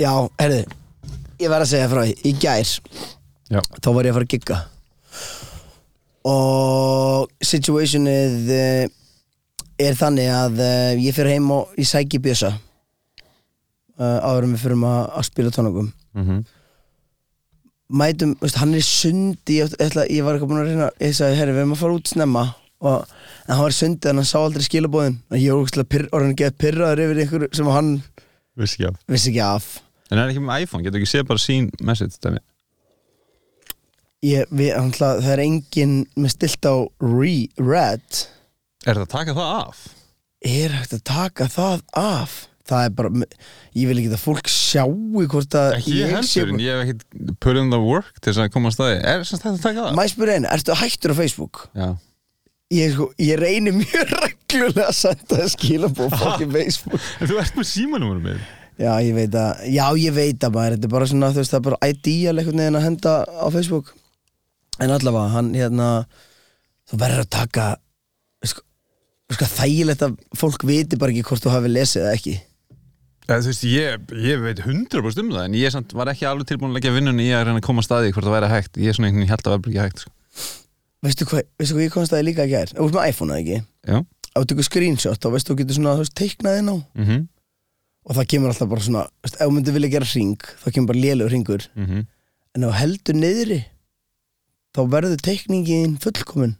Já, herðu Ég verð að segja frá því, í gær Já. Þá var ég að fara að gigga Og situationið eh, Er þannig að eh, Ég fyrir heim og ég sæki bjösa uh, Áðurum við fyrir að, að spila tónleikum mm mætum, veist, hann er í sundi ég, ég, ætla, ég var eitthvað búin að reyna ég sagði, herri, við erum að fara út snemma og, en hann var í sundi, þannig að hann sá aldrei skilabóðin og ég var úkslega pyrr, orðin að geða pyrraður yfir ykkur sem hann Vissi ekki af vissi ekki af En hann er ekki með iPhone, getur ekki séð bara sín message dæmi ég, við, hann, ætla, það er enginn með stilt á re-red Er það að taka það af? er hægt að taka það af það er bara, ég vil ekki að fólk sjáu hvort að Ekki ég sé- heldur, en ég hef ekkit put in the work til þess að koma að staði Er það að taka það? Má ég spyrja einu, ertu hættur á Facebook? Já, Ég, sko, ég reyni mjög reglulega að senda skilabóð fólki á Facebook en þú ert með símanúmurum minn Já, ég veit að, já, ég veit að maður, þetta er bara svona, þú veist, það er bara ideal einhvern veginn að henda á Facebook. En allavega, hann, hérna, þú verður að taka, sko, sko, þægilegt að fólk viti bara ekki hvort þú hafi lesið eða ekki. ja, Þú veist, ég, ég veit 100% um það En ég samt var ekki alveg tilbúin að leggja vinnunni í að reyna að koma að staði hvort það væri hægt Ég er svona einhvern veginn held að vera bara ekki hægt sko. Veistu hvað, veistu hvað ég komst að þið líka að gera? Þú veist með iPhone, eða ekki? Já, Ef þú tekur screenshot, þá veistu, þú getur svona, þú veist, teiknað inn á. mhm, mhm Og það kemur alltaf bara svona, veist, ef þú myndir vilja gera ring, þá kemur bara lélegur ringur. mhm. En ef þú heldur niðri, þá verður teikningin fullkomin.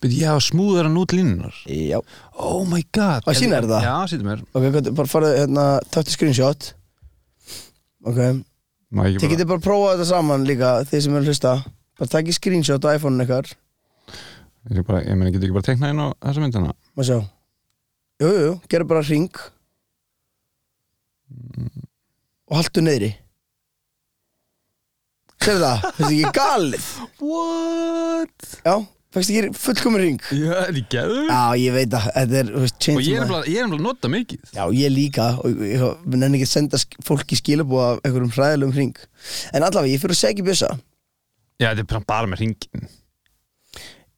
But ég hafa smúðar hann út línunar Já. Oh my god Á, sýna þér það? Já, sýnir mér Ok, hvað- bara farið, hérna, tættu screenshot Ok, Má ég þið ekki bara getur bara að prófa þetta saman líka Þið sem eru að hlusta Bara takk í screenshot á iPhone-un ykkar Ég, bara, ég meni, getur ekki bara teknað inn á þessa myndina Má sjá Jú, jú, jú, gerðu bara hring Og haltu neyðri Sér það, þetta er ekki galið What? Já, fækst ekki fullkomur hring Já, er ég geður? Já, ég veit að þetta er þú veist, Og change ég er my- nefnilega ég er nefnilega að nota mikið Já, ég líka og ég ég nenni ekki að senda sk- fólki skilabúa af einhverjum hræðilegum hring En allavega, ég fyrir að segja bjösa Já, þetta er bara- bara með ringin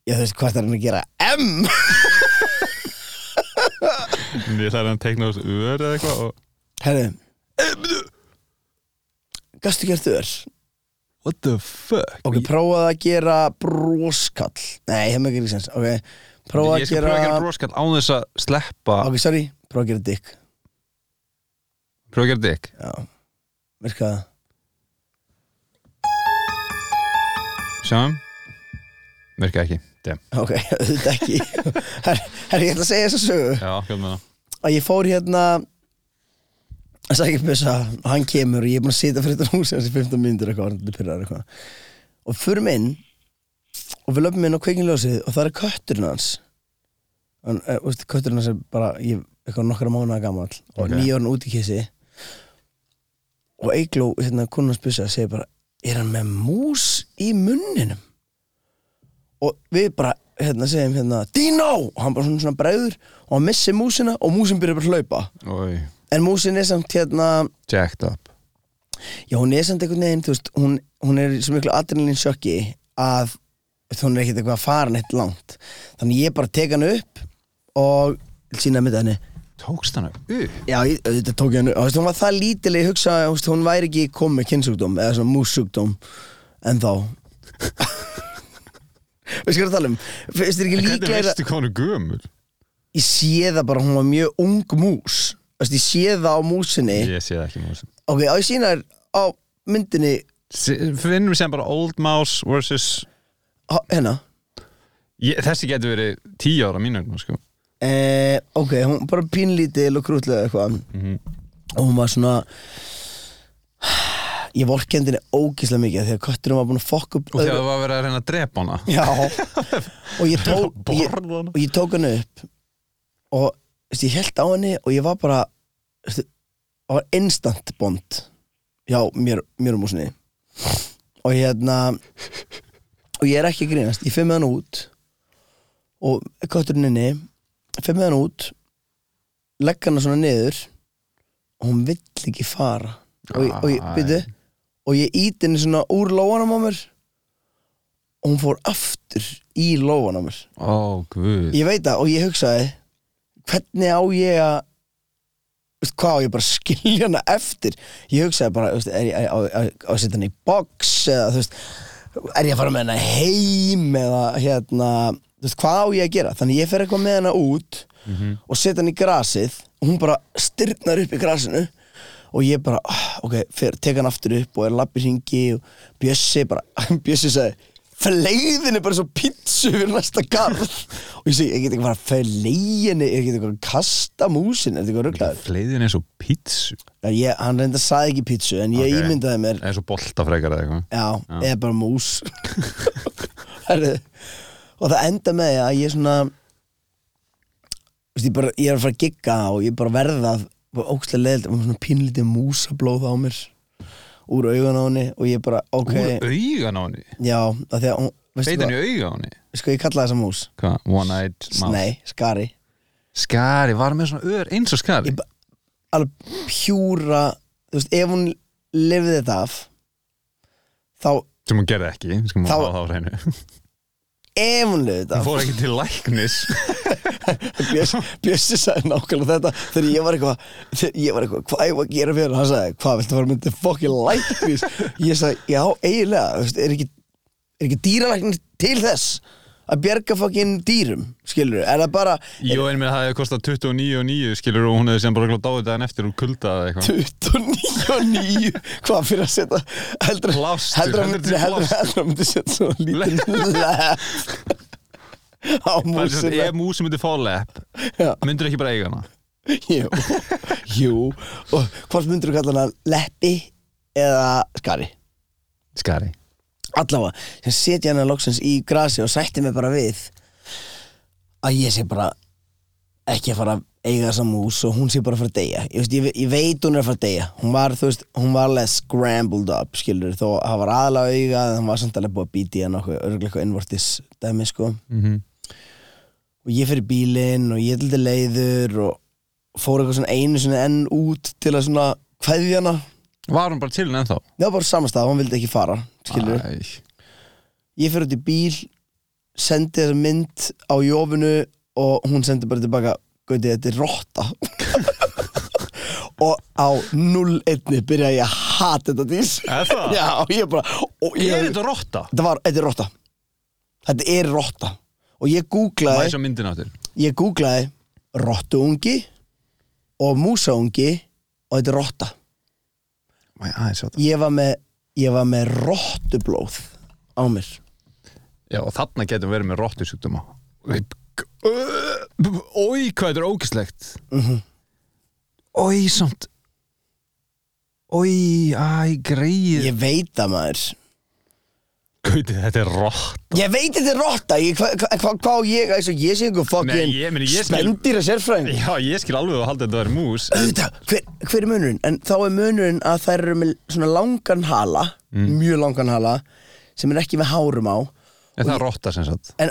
Ég þú veist hvað það er hann að gera M En ég ætlaði að tekna þessu ör eða eitthvað og... Herðu Gastu gert þur What the fuck? Ok, prófaðu að gera broskall Nei, það með ekki sens Ok, prófaðu Ég að skal gera prófa að gera broskall án þess að sleppa Ok, sorry, prófaðu að gera dick Prófa að gera dick Já, virka það Sjáum Virka ekki Damn. Ok, auðvitað ekki Herri, her, ég ætla að segja þess að sögu Já, hvað með það Að ég fór hérna að sækja bjösa og hann kemur og ég er búin að sitja fyrir þetta hús þessi 15 mínútur eitthvað, orðandi pyrrar eitthvað og förum inn og við löfum inn á kveikinljósið og það er kötturinn hans en, e, veist, kötturinn hans er bara ég, eitthvað nokkra mánuða gamall og Ok. okay. nýjórn út í kissi og Eigló, hérna kunnans bjösa segir bara, er hann með mús í munninum og við bara hérna segjum hérna, Dino! og hann bara svona, svona bregður og hann missir músina og músin byrjar bara að hlaupa Oi, En músin er samt hérna jacked up Já, hún er samt einhvern veginn, þú veist Hún, hún er í svo miklu adrenalin sjokki að þú veist, hún er ekkert eitthvað farin eitt langt Þannig ég bara tek hann upp og sína mitt henni Tókst hana upp? Já, ég- auðvitað tók ég hann upp Þú veist, Hún var það lítileg, ég hugsa þú veist, Hún væri ekki komið með kynnsjúkdóm eða svona mússjúkdóm En þá Veistu hvað ég er að tala um? Finnst þér ekki Hvernig líklega veistu hvað hann er gömul? Ég sé það bara, hún var mjög ung mús Þú veist, Ég sé það á músinni Ég sé það ekki með þessu Ok, á ég sína þér á myndinni Se- Finnum við sem bara old mouse versus Ha- hérna ég, Þessi getur verið tíu ára mínu sko. eh, ok, hún bara pínlítil og krútlega eitthvað Mhm. og hún var svona ég vorkendi henni ógislega mikið af því að kötturinn var búin að fokka upp Og þegar það var verið að reyna að drepa hana já og ég tók ég, Borða hana og ég tók henni upp og veist, ég held á henni og ég var bara veist, það var instant bond hjá mér, mér um húsinni og hérna og ég er ekki að grínast, ég fyrir með hann út og kötturinn inni fyrir með hann út legg hann svona niður og hún vill ekki fara og ég, og ég, Æ. byrju, og ég ít henni svona úr lóanum á mér og hún fór aftur í lóanum á mér Ó, guð Ég veit það og ég hugsaði Hvernig á ég að veist, hvað á ég bara að skilja hana eftir ég hugsaði bara, þú veist, er ég á- á á- á að setja hana í box eða þú veist er ég að fara með hana heim eða hérna, þú veist, hvað á ég að gera þannig ég fer eitthvað með hana út og setja hana í grasið og hún bara styrnar upp í grasinu og ég bara, ah, ok, fer, tek hann aftur upp og er lappi hringi og Bjössi bara, Bjössi sagði fleiðin er bara svo pítsu fyrir næsta garð og ég segi, ég get ekki bara fleiðinni, ég get ekki bara kasta músin, er þetta eitthvað rugglaður Fleiðin er svo pítsu Já, ég, hann reynda sagði ekki pítsu en ég Ok. ímyndaði mér Það er svo boltafrekar eða eitthvað já, eða bara mús Herðu, og það enda með því að ég svona veist, ég, bara, ég er að fara að gigga og ég bara verða ógstlega leðild og svona pínlítið músablóð á mér úr augun á henni og ég bara, ok Úr augan á henni já, af því að hún, veistu Beit hann hvað, í auga á henni sko ég kalla þessa mús Hvað? One-eyed mouse nei, skari Skari, var hann með svona ör eins og skari Ég- alveg pjúra þú veist, ef hún lifði þetta af þá, Sem hún gerði ekki, sko hún Þá- hafa það á hreinu Hún ef hún lifði þetta af fór ekki til læknis Bjössi, Bjössi sagði nákvæmlega þetta þegar ég var eitthvað, þegar ég var eitthvað hvað ég var að gera fyrir hann, hann sagði hvað viltu fara myndið fokkin læknis ég sagði já eiginlega, þú veist, er ekki er ekki dýralæknir til þess að bjarga fokkin dýrum skilur, er það bara Jó, en mér það hefði kostað 29,9 skilur og hún hefði sem bara glátt dáið daginn eftir og kulda eða eitthvað 29 og 9 hvað fyrir að setja heldur heldur að Plástur, heldur myndi til heldur, plástur. heldur að myndi setja svona lítið left á Það er sem sagt, músina Ef músi myndi fá lepp Já. myndir ekki bara eiga hana Jú, jú og hvort myndir þú kalla hana leppi eða skari Skari allavega, sem setja hana loksins í grasi og sætti mig bara við að ég sé bara ekki að fara að eiga þessa mús og hún sé bara að fara að deyja ég, veist, ég, ve- ég veit hún er að fara að deyja hún var, þú veist, hún var alveg scrambled up skilur, þó að það var aðalega auga en það var samt alveg búið að býti hann okkur örgulega eitthvað innvortis dæmi, sko Mhm. og ég fyrir bílinn og ég er til leiður og fór eitthvað svona einu svona enn út til að svona kveðja hana Var hún bara til henni ennþá? það var bara samastað, hún vildi ekki fara skilur, Æ, ég fyrir út í bíl sendi þessa mynd á jófinu og hún sendi bara tilbaka gauti, þetta er rotta og á 0-1 byrja ég að hata þetta dís Er það? já, og ég bara og ég, Er þetta rotta? þetta var, þetta er rotta þetta er rotta og ég Það googlaði er svo myndin áttir Ég googlaði rottuungi og músaungi og þetta er rotta. Mæ, aðeins á þetta Ég var með, ég var með rottublóð á mér. Já, og þarna getum verið með rottusjúkdóma Ói, hvað þetta er ógislegt Mhm. Ói, samt Ói, æ, greið Ég veit það maður. Gauti, þetta er rott Ég veit þetta er rotta. Ég- Hvað hva, hva, hva á ég, eins og ég sé einhver Nei, ég fokkin meina, ég skil- spendýra sérfræðing. Já, ég skil alveg að halda þetta er mús Auðvitað, hver, hver er munurinn? En þá er munurinn að þær eru með svona langan hala, Mm. mjög langan hala, sem er ekki með hárum á. En það er rotta sem sagt En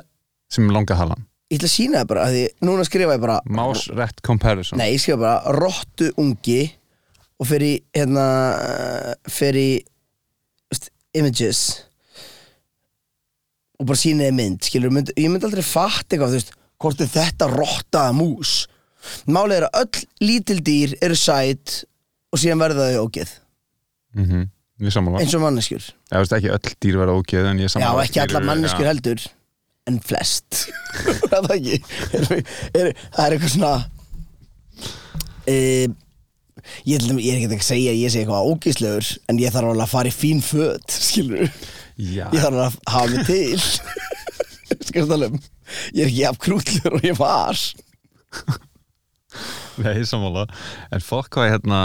Sem langa halan ég ætla að sína það bara, af því núna skrifa ég bara Mouse rat comparison Nei, ég skrifa bara Rottu ungi Og fer í, hérna Fer í veist, Images Og bara sýna þið mynd skilur, mynd, Ég myndi aldrei fatta eitthvað þú veist, Hvort er þetta rotta eða mús Málið er að öll lítil dýr Eru sæt og síðan verða þau ógeð mm -hmm. Við samanlega Eins og manneskjur Ég veist ekki öll dýr verða ógeð en ég Já, samanlega ekki allar manneskjur heldur En flest Er Það ekki er, er, Það er eitthvað svona e, Ég, ætlum, ég er ekki að segja að Ég sé eitthvað ógislegur En ég þarf alveg að fara í fín föt Skilur Já, Ég þarf alveg að hafa mig til Skilur það um Ég er ekki af krútlur og ég var Nei, sammála En fokk hvað ég hérna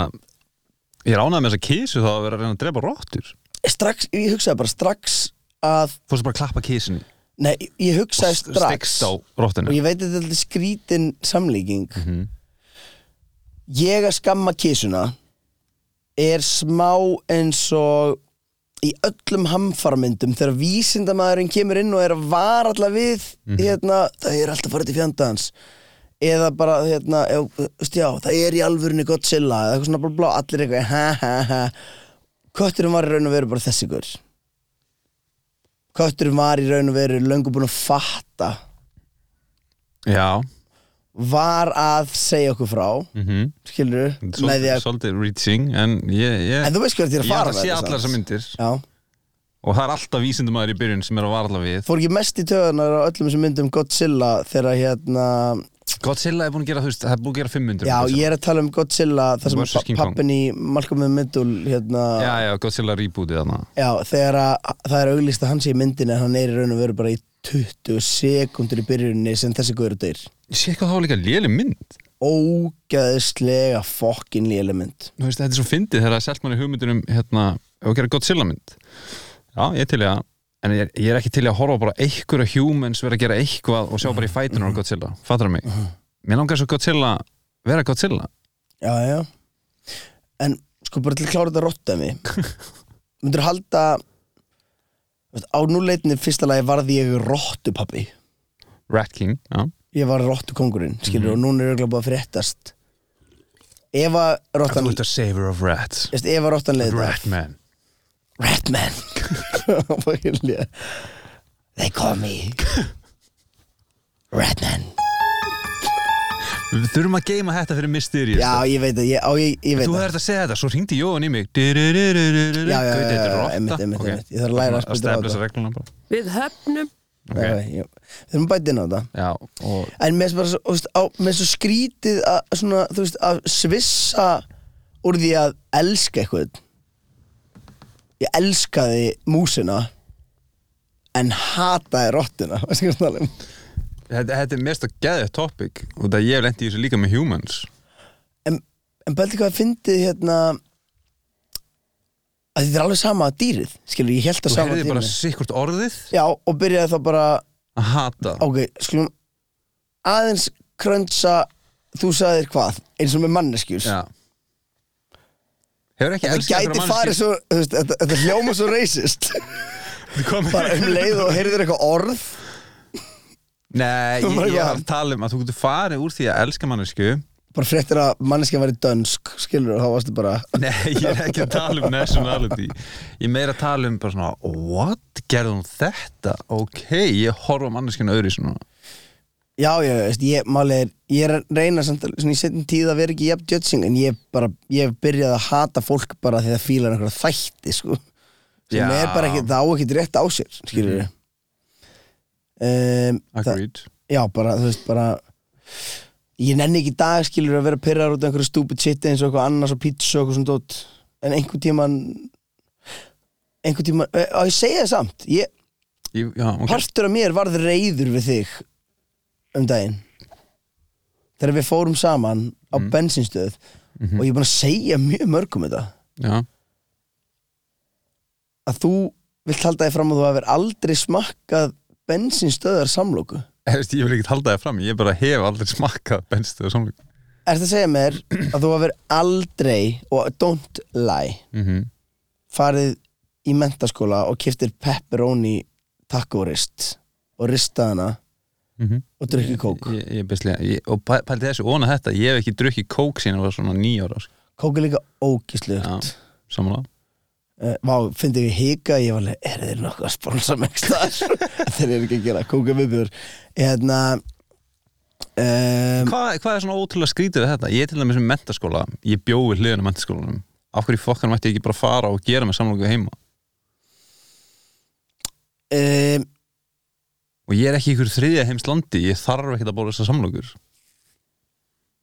Ég ránaði með þessa kísu þá að vera að reyna að drepa róttur Strax, ég hugsaði bara strax Að, Fórstu bara að klappa kísinni nei, ég hugsaði strax Stegst á og róttinu ég veit að þetta er alltaf skrítin samlíking ég að skamma kísuna er smá eins og í öllum hamfarmyndum þegar vísindamaðurinn kemur inn og er að vara alltaf við hérna, það er alltaf farið til fjandans eða bara hérna, ef, þú veist, já, það er í alvörunni Godzilla eða eitthvað svona blá blá, allir eitthvað ha ha ha kötturinn var í raun og veru bara þessi ykkur kötturinn var í raun og veru löngu búin að fatta Já, var að segja okkur frá mm skilur, með því svolítið, að svolítið reaching en ég, ég, en þú veist hvað þetta er að ég er fara að með sé þetta allar samt. þessar myndir Já. og það er alltaf vísindumæður í byrjun sem er að varla við fór ekki mest í töðunar á öllum þessum myndum Godzilla þegar hérna Godzilla er búin að gera, þú veist, það er búin að gera 500 já, Godzilla. ég er að tala um Godzilla þar sem Versus King pa- Kong. pappin í Malcolm in the Middle hérna, já, já, Godzilla rebootið þarna já, þegar að, það er auglýst að hann sé í myndinni en hann er í raun og veru bara í 20 sekundur í byrjunni sem þessi guður deyr sé hvað það var líka léli mynd ógæðislega fokkin léleg mynd Þú veist, þetta er svo fyndið þegar það er selt manni hugmyndir um hérna, ef að gera Godzilla mynd já, ég er til í að en ég er, ég er ekki til í að horfa á bara einhverja humans vera að gera eitthvað og sjá bara í fætunum á Godzilla, fattar mig Mhm. mér langar svo Godzilla, vera Godzilla já, já en sko bara til að klára þetta rottami myndur halda þú veist, á núleitni fyrsta lagi varði ég rottupappi Rat King, já, ég var rottukongurinn, Mhm. skilur og núna er auðvitað búið að fréttast ef að rottan þú ert að saver of rats Veist, ef að rottan leiði Rat man Ratman Fucking lé- They call me Ratman Við þurfum að geima þetta fyrir Mysterious Já, ég veit það, ég, á, ég, ég veit Þú það hefði að segja þetta, svo ringdi Jóhann í mig Gauti, Já, já, já, þetta já, er rotta einmitt, einmitt, Ok. einmitt. Ég þarf að læra að að spila á stefla þetta. þessar regluna bara Við höfnum Já, Ok. já, Við erum bætið inn á þetta Já, og En mér finnst bara, svo- þú veist, á, mér finnst svo skrítið að, svona, þú veist, að svissa úr því að elska eitthvað Ég elskaði músina en hataði rottina, veistu hvað það er? þetta, þetta er mest að geða topic og það ég hef lent í þessu líka með humans en, en bælti hvað að fyndið hérna að þetta er alveg sama að dýrið skilur, ég held að Þú sama heyrði dýrið bara sikkurt orðið já, og byrjaði þá bara að hata ok, skulum aðeins krönsa þú sagðir hvað, eins og með manneskjur Já Hefur ekki það elskað gæti farið svo, þú veist, þetta, þetta hljóma svo racist svo bara um leið og heyrðir eitthvað orð Nei, Oh ég, my ég var God. að tala um að þú getur farið úr því að elska mannesku bara fréttir að manneskja væri dönsk skilur, þá varstu bara Nei, ég er ekki að tala um nationality Ég er meira að tala um bara svona What? Gerði hún þetta? Ok, ég horfa manneskinu öðru svona Já, já, já, veist, ég, málið er, ég er að reyna samt, að- svona í setjum tíð að vera ekki jafn judging en ég bara, ég hef byrjað að hata fólk bara því það fílar einhverja þætti, sko sem Já. er bara ekki, það á ekki rétt á sér, skilur við um, það, Agreed Já, bara, þú veist, bara ég nenni ekki í dag, skilur að vera pyrrar út af einhverju stupid shit eins og eitthvað annars og pizza og eitthvað svona dót en einhver tíman einhver tíman, á ég segja það samt ég, ég, Já, ok partur af mér varð reyður við þig um daginn þegar við fórum saman á bensinstöð og ég er búin að segja mjög mörgum þetta Já, að þú vilt halda þig fram að þú hafir aldrei smakkað bensinstöðar samlóku Þú veist, ég vil ekki halda það fram Ég bara hef aldrei smakkað benstuðu samlík Er þetta að segja mér að þú hafir aldrei og don't lie mm Mhm, farið í mentaskóla og kiftir pepperoni taco rist og ristaðana Mhm. og drukkið kók Ég, ég, beislega, ég, og pæ- pældi þessu, óna þetta Ég hef ekki drukkið kók sín og var svona nýjóra sko. kók er líka ógislugt Já, samanlega Uh, Vá, fyndi ég hika, ég var alveg, er þeir nokkuð að sponsa mig staðar? þeir eru ekki að gera, um kóka viðbjör. Hérna, um, Hva, Hvað er svona ótrúlega skrítið við þetta? Ég er til dæmis með mentaskóla, ég bjó við hliðinu mentaskólanum Af hverju fokkan mætti ég ekki bara fara og gera með samlíku heima? um, Og ég er ekki í ykkur þriðja heims landi, ég þarf ekki að bóla þessar samlíkur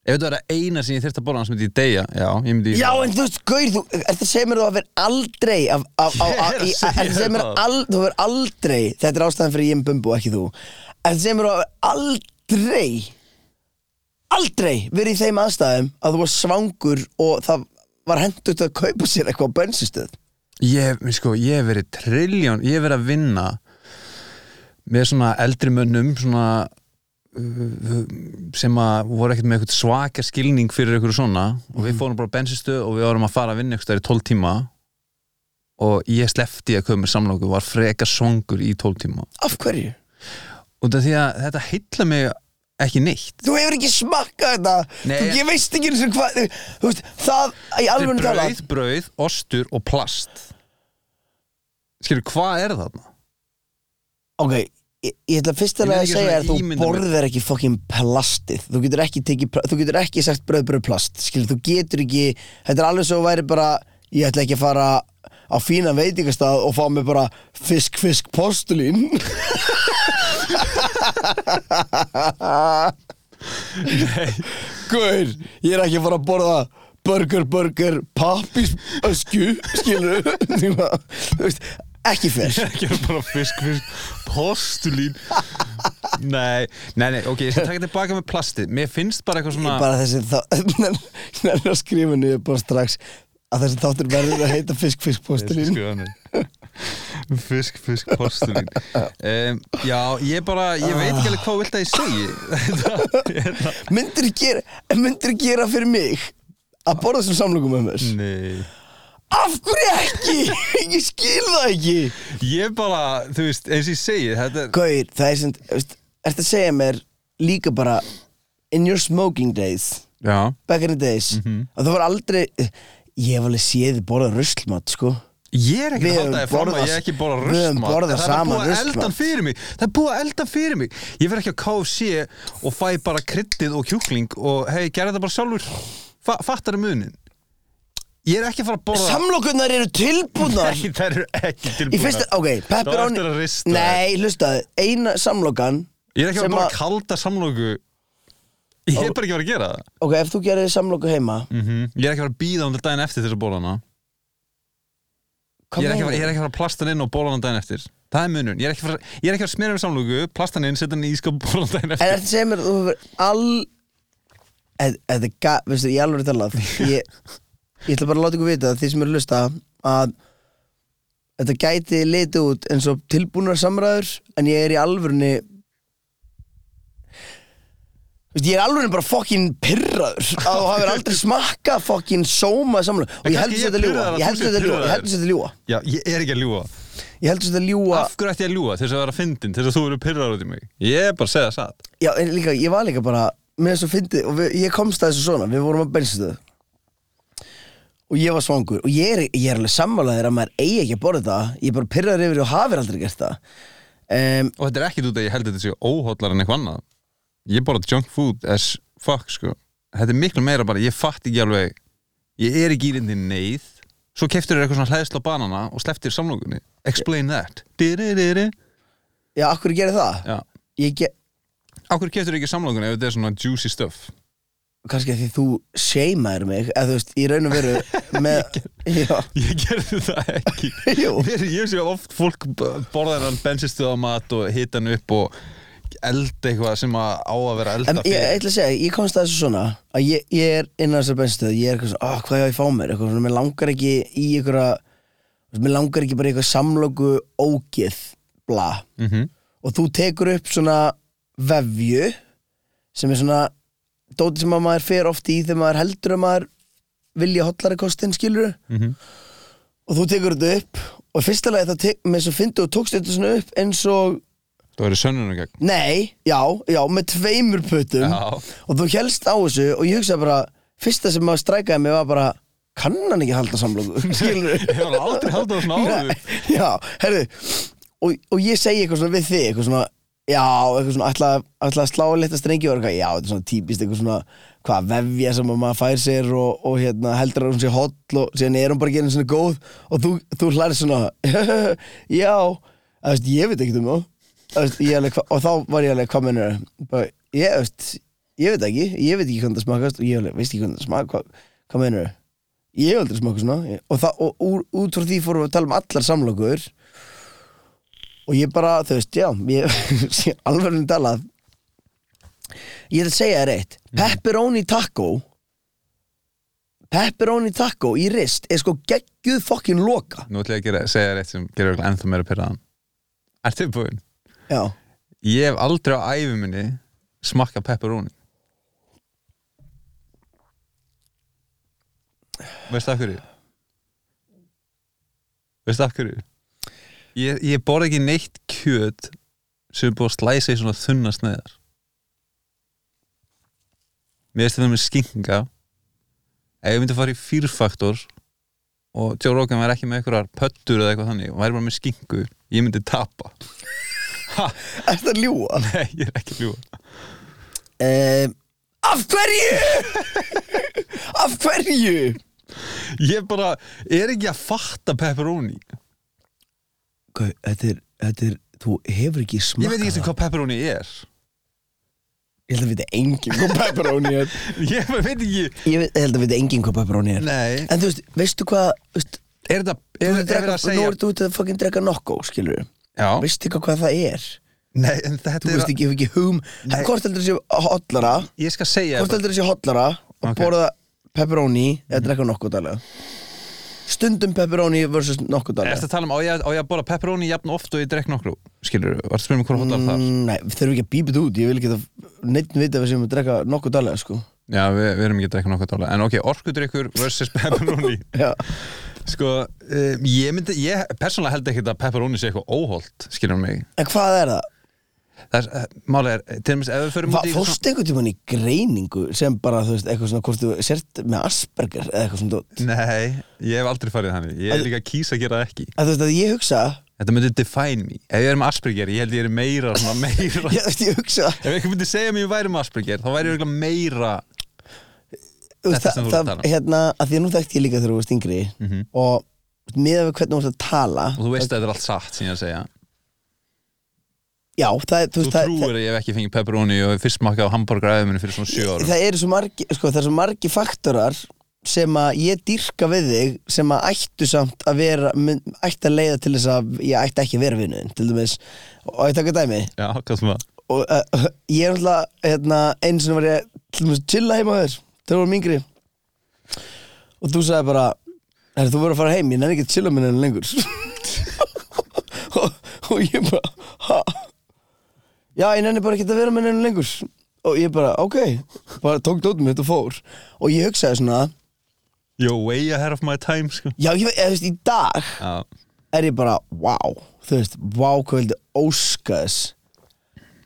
Ef þetta verða eina sem ég þyrfti að bóla hans myndi ég deyja Já, ég myndi já, en þú veist, Gaur, þú, er það segir mér þú að vera aldrei, af, af, af, Ég er af, að í- segja er það segir mér það. al, þú verður aldrei, þetta er ástæðan fyrir ég um bumbu, ekki þú, er það segir mér þú að vera aldrei, aldrei verið í þeim aðstæðum að þú var svangur og það var hendur að kaupa sér eitthvað á bensinstöð. Ég, mér sko, ég hef verið trilljón, ég hef verið að vinna með svona eldri mönnum svona uh, sem að voru ekkert með eitthvað svaka skilning fyrir eitthvað svona og Mhm. við fórum bara á bensinstöð og við vorum að fara að vinna eitthvað í 12 tíma og ég slefti að köpa mér samlóku var freka songur í 12 tíma Af hverju? og það því að þetta heilla mig ekki neitt Þú hefur ekki smakkað þetta Nei, Þú ég- ég veist ekki eins og hvað Þú veist, það í Þetta er alveg tala brauð, brauð, ostur og plast skilur, hvað er þarna? Ok, ég, ég ætla fyrst að Ég er að ekki segja svona að þú ímynda mér. borðir ekki fucking plastið þú getur ekki, tekið, pl- þú getur ekki sagt bröð, bröð, plast skilur, þú getur ekki þetta er alveg svo væri bara ég ætla ekki að fara á fína veitingastað og fá mig bara fisk, fisk, postulín Guður, ég er ekki að fara að borða burger, burger, pappis ösku, skilur þú veist, ekki fyrst Ég er bara fisk, fisk, postulín Nei, nei, nei, ok, ég skal taka tilbaka með plastið Mér finnst bara eitthvað svona bara þessi þá nærna skrifa niður bara strax að þessi þáttur verður að heita fisk fisk postulín Postulín Fisk, fisk, postulín um, Já, ég bara, ég veit ekki alveg hvað þú vilt að ég segi Þetta- myndir gera, myndir gera fyrir mig að borða þessum samlöku með mér Nei af hverju ekki, ég skil það ekki Ég bara, þú veist, eins og ég segi Þetta er, Gauir, það er sem veist, ertu að segja mér líka bara in your smoking days já, back in the days að það var aldrei ég hef alveg séð þið borða ruslmat sko Ég er ekki Við að halda höfum þér fram að borðað- ég hef ekki borða við höfum rustmat borðað Það er saman búið að ruslamat. eldan fyrir mig Það er búið að eldan fyrir mig Ég fer ekki á KFC og fæ bara kryddið og kjúkling og hei, gerði þetta bara sjálfur Fa Fattar um munin Ég er ekki að fara að borða samlokurnar eru tilbúnar Nei, það eru ekki Í tilbúið fyrsta, ok, pepperoni Það er að rista Nei, hlustaðu, eina samlokan Ég er ekki að sem fara að- að kalda samlóku Ég er bara ekki að fara að gera það Ok, ef þú gerir samloku heima -hmm. Ég er ekki að fara að býða um þetta daginn eftir þess að borða hana hvað ég er, ekki að meinar fara, ég er ekki að fara að plasta hann inn og borða hana daginn eftir Það er munun, ég er ekki að fara, ég er ekki að smera um samlóku Plasta hann inn, setja hann í ískap og borða En hana daginn eftir þetta segir mér, að þú hefur Eh, all Eð- Þetta er gaf, veistu, ég alveg talað ég, ég ætla bara að láta ykkur vita Því sem eru að hlusta að Þetta gæti litið út eins og tilbúnar samræður En ég er í alvörni Veistu, ég er alveg bara fokkin pirraður að þú hafir aldrei smakka fokkin sóma samlega og En ég heldur þetta ljúa kannski ég pirraður að ég heldur þú sért þetta ljúa, ég pirraður. heldur þetta ljúa Já, ég er ekki að ljúga Ég heldur þetta ljúa Af hverju ætti ég að ljúga til þess að vera fyndin Til þess að þú eru pyrrar út í mig Ég er bara að segja satt Já, en líka, ég var líka bara með þessu fyndið og við, ég komst að þessu svona við vorum að bensinstöðu og ég var svangur og ég er, ég er alveg sammálaðir að maður eigi ekki að borða það ég er bara pyrraður yfir því og hafir aldrei gert það um, Og þetta er ekkit út að ég held að þetta sé óhóllar en eitthvað annað Ég borða junk food as fuck sko Þetta er miklu meira bara, ég fatt ekki alveg Ég er ekki í reyndi neyð Svo keftur þér eitthvað svona hlæðsla banana og sleftir samlókunni Explain that Di-di-di-di. Já, akkur gerir það? Já. Ég ge Akkur keftur ekki samlókunni ef þetta er svona juicy stuff kannski af því þú seimaðir mig eða þú veist, í raun og veru með, já, Ég gerði það ekki Jú. Mér, Ég sé oft fólk b- borða hennan bensinstöðamat og hita hann upp og elda eitthvað sem að á að vera elda en ég ég ætla að segja, ég komst að þessu svona að ég, ég er innan þessar bensinstöðu ég er eitthvað svona, oh, hvað ég á ég fá mér eitthvað svona, mér langar ekki í einhverja mér langar ekki bara í eitthvað samlóku ógið, bla mm og þú tekur upp svona vefju sem er svona dóti sem að maður fer oft í þegar maður heldur að maður vilja hollari kostinn skilur Mhm. og þú tekur þetta upp og í fyrsta lagi þá tek, með svo fyndu og tókst þetta svona upp eins og Það verður sönnunum gegn nei, já, já, með tveimur putum Já. og þú helst á þessu og ég hugsaði bara, fyrsta sem maður strækaði mig var bara, kann hann ekki halda samlóku skilur Ég var aldrei haldið á svona áður Nei, Já, herðu og, og ég segi eitthvað svona við þig eitthvað svona, já, eitthvað svona ætla, ætla að slá litla strengi og eitthvað, já, þetta er svona típist eitthvað svona, hvað vefja sem að maður fær sér og, og hérna heldur að hún sé holl og síðan er hún bara gerðin svona góð og þú, þú hlæri svona já, að veist, ég veit ekkert um það Að veist, ég alveg, hva- og þá var ég alveg, hvað mennur bara, ég, veist, ég veit ekki, ég veit ekki hvernig það smakast og ég alveg, veist ekki hvernig það smakast hvað, hvað mennur ég hef aldrei smakað svona og, það, og úr, út frá því fórum við að tala um allar samlokur og ég bara, þú veist, já ég alveg um talað ég ætla að segja þér eitt pepperoni taco pepperoni taco í rist er sko geggjuð fokkin loka Nú ætla ég að gera, segja þér eitt sem gerir örugglega ennþá meira pyrraðan Er þið búinn? já, Ég hef aldrei á æfuminni smakka pepperoni Veistu af hverju? Veistu af hverju? Ég, ég borð ekki neitt kjöt sem er búið að slæsa í svona þunna sneiðar Mér veist þetta með skinga ef ég myndi að fara í fyrfaktor og Joe Rogan væri ekki með einhverjar pöttur eða eitthvað þannig og væri bara með skingu, ég myndi tapa Er þetta ljúa? Nei, ég er ekki ljúa Uh, af hverju? af hverju? Ég bara, er ekki að fatta pepperoni Gau, þetta er, þetta er, þú hefur ekki Ég smakað veit ekki sem það. hvað pepperoni er Ég held að við þetta engin hvað pepperoni er Ég bara veit ekki Ég veit- ég held að við þetta engin hvað pepperoni er Nei, En þú veist, veistu hvað, veist, er þetta, þú ert er, er að þetta drekka, að nú segja ertu út að fucking drekka nokko, skilur Já, Veistu ekki hvað það er? nei, en þetta Þú er veist að ekki, hefur ekki hugum Nei. Hvort heldur þessi hotlara Ég skal segja Hvort þetta heldur þessi hotlara að Ok. borða pepperoni eða drekka nokko dalega Stundum pepperoni versus nokko Er dalega þetta að tala um, á ég, á ég að bora pepperoni jafn oft og ég drekk nokkru Skilur, var þetta að spyrja mig hvort hóttar þar Mm, Nei, við þurfum ekki að bípa þetta út Ég vil ekki að neitt vita að við séum að drekka nokkuð dalega sko. Já, við, við erum ekki að drekka nokkru dálega En ok, orkudrykkur versus pepperoni Já, Sko, um, ég myndi, ég persónulega held ekki að pepperoni sé eitthvað óholt, skilur mig en hvað er það? Það er, eh, málið er, til dæmis ef við förum Va, út í eitthvað fórstu einhvern tímann í greiningu sem bara, þú veist, eitthvað svona hvort þú sért með Asperger eða eitthvað svona dót? svona- Nei, ég hef aldrei farið þannig Ég er líka að kýsa að gera það ekki að þú veist að ég hugsa Þetta myndi define me Ef ég er með Asperger, ég held ég er meira, svona meira ég, þú veist, ég hugsa Ef einhver myndi segja mér ég væri með Asperger, þá væri ég örugglega meira þú veist, Þetta það, sem þú ert að það, tala um. hérna, að því að nú þekkti ég líka þegar þú varst yngri Mhm. og þú veist, miðað við hvernig þú varst að tala Og þú veist að þetta er allt satt, sem ég er að segja já, það, er- þú Þú veist, það, trúir að ég hef ekki fengið pepperoni og fyrst smakkaði á hambúrgar aðeiminu fyrir svona sjö árum það eru svo margi sko, það eru svo margi faktorar sem að ég dýrka við þig sem að ættu samt að vera mun- ætti að leiða til þess að ég ætti ekki að vera vinnuðin til dæmis, og ég taka dæmi Já, hvað sem að og uh, ég er alltaf hérna, eins og var ég til dæmis að chilla heima þér þegar vorum yngri og þú sagði bara herri, þú voru að fara heim, ég nefnir ekki að chilla minna lengur og, og ég bara ha? já, ég nefnir bara ekki að vera minna lengur og ég bara, ok bara tók dótum mitt og fór og ég hugsaði svona, You're way ahead of my time, sko já, ég veit, eða, þú veist, í dag Já, er ég bara, wow þú veist, wow hvað vildi óska þess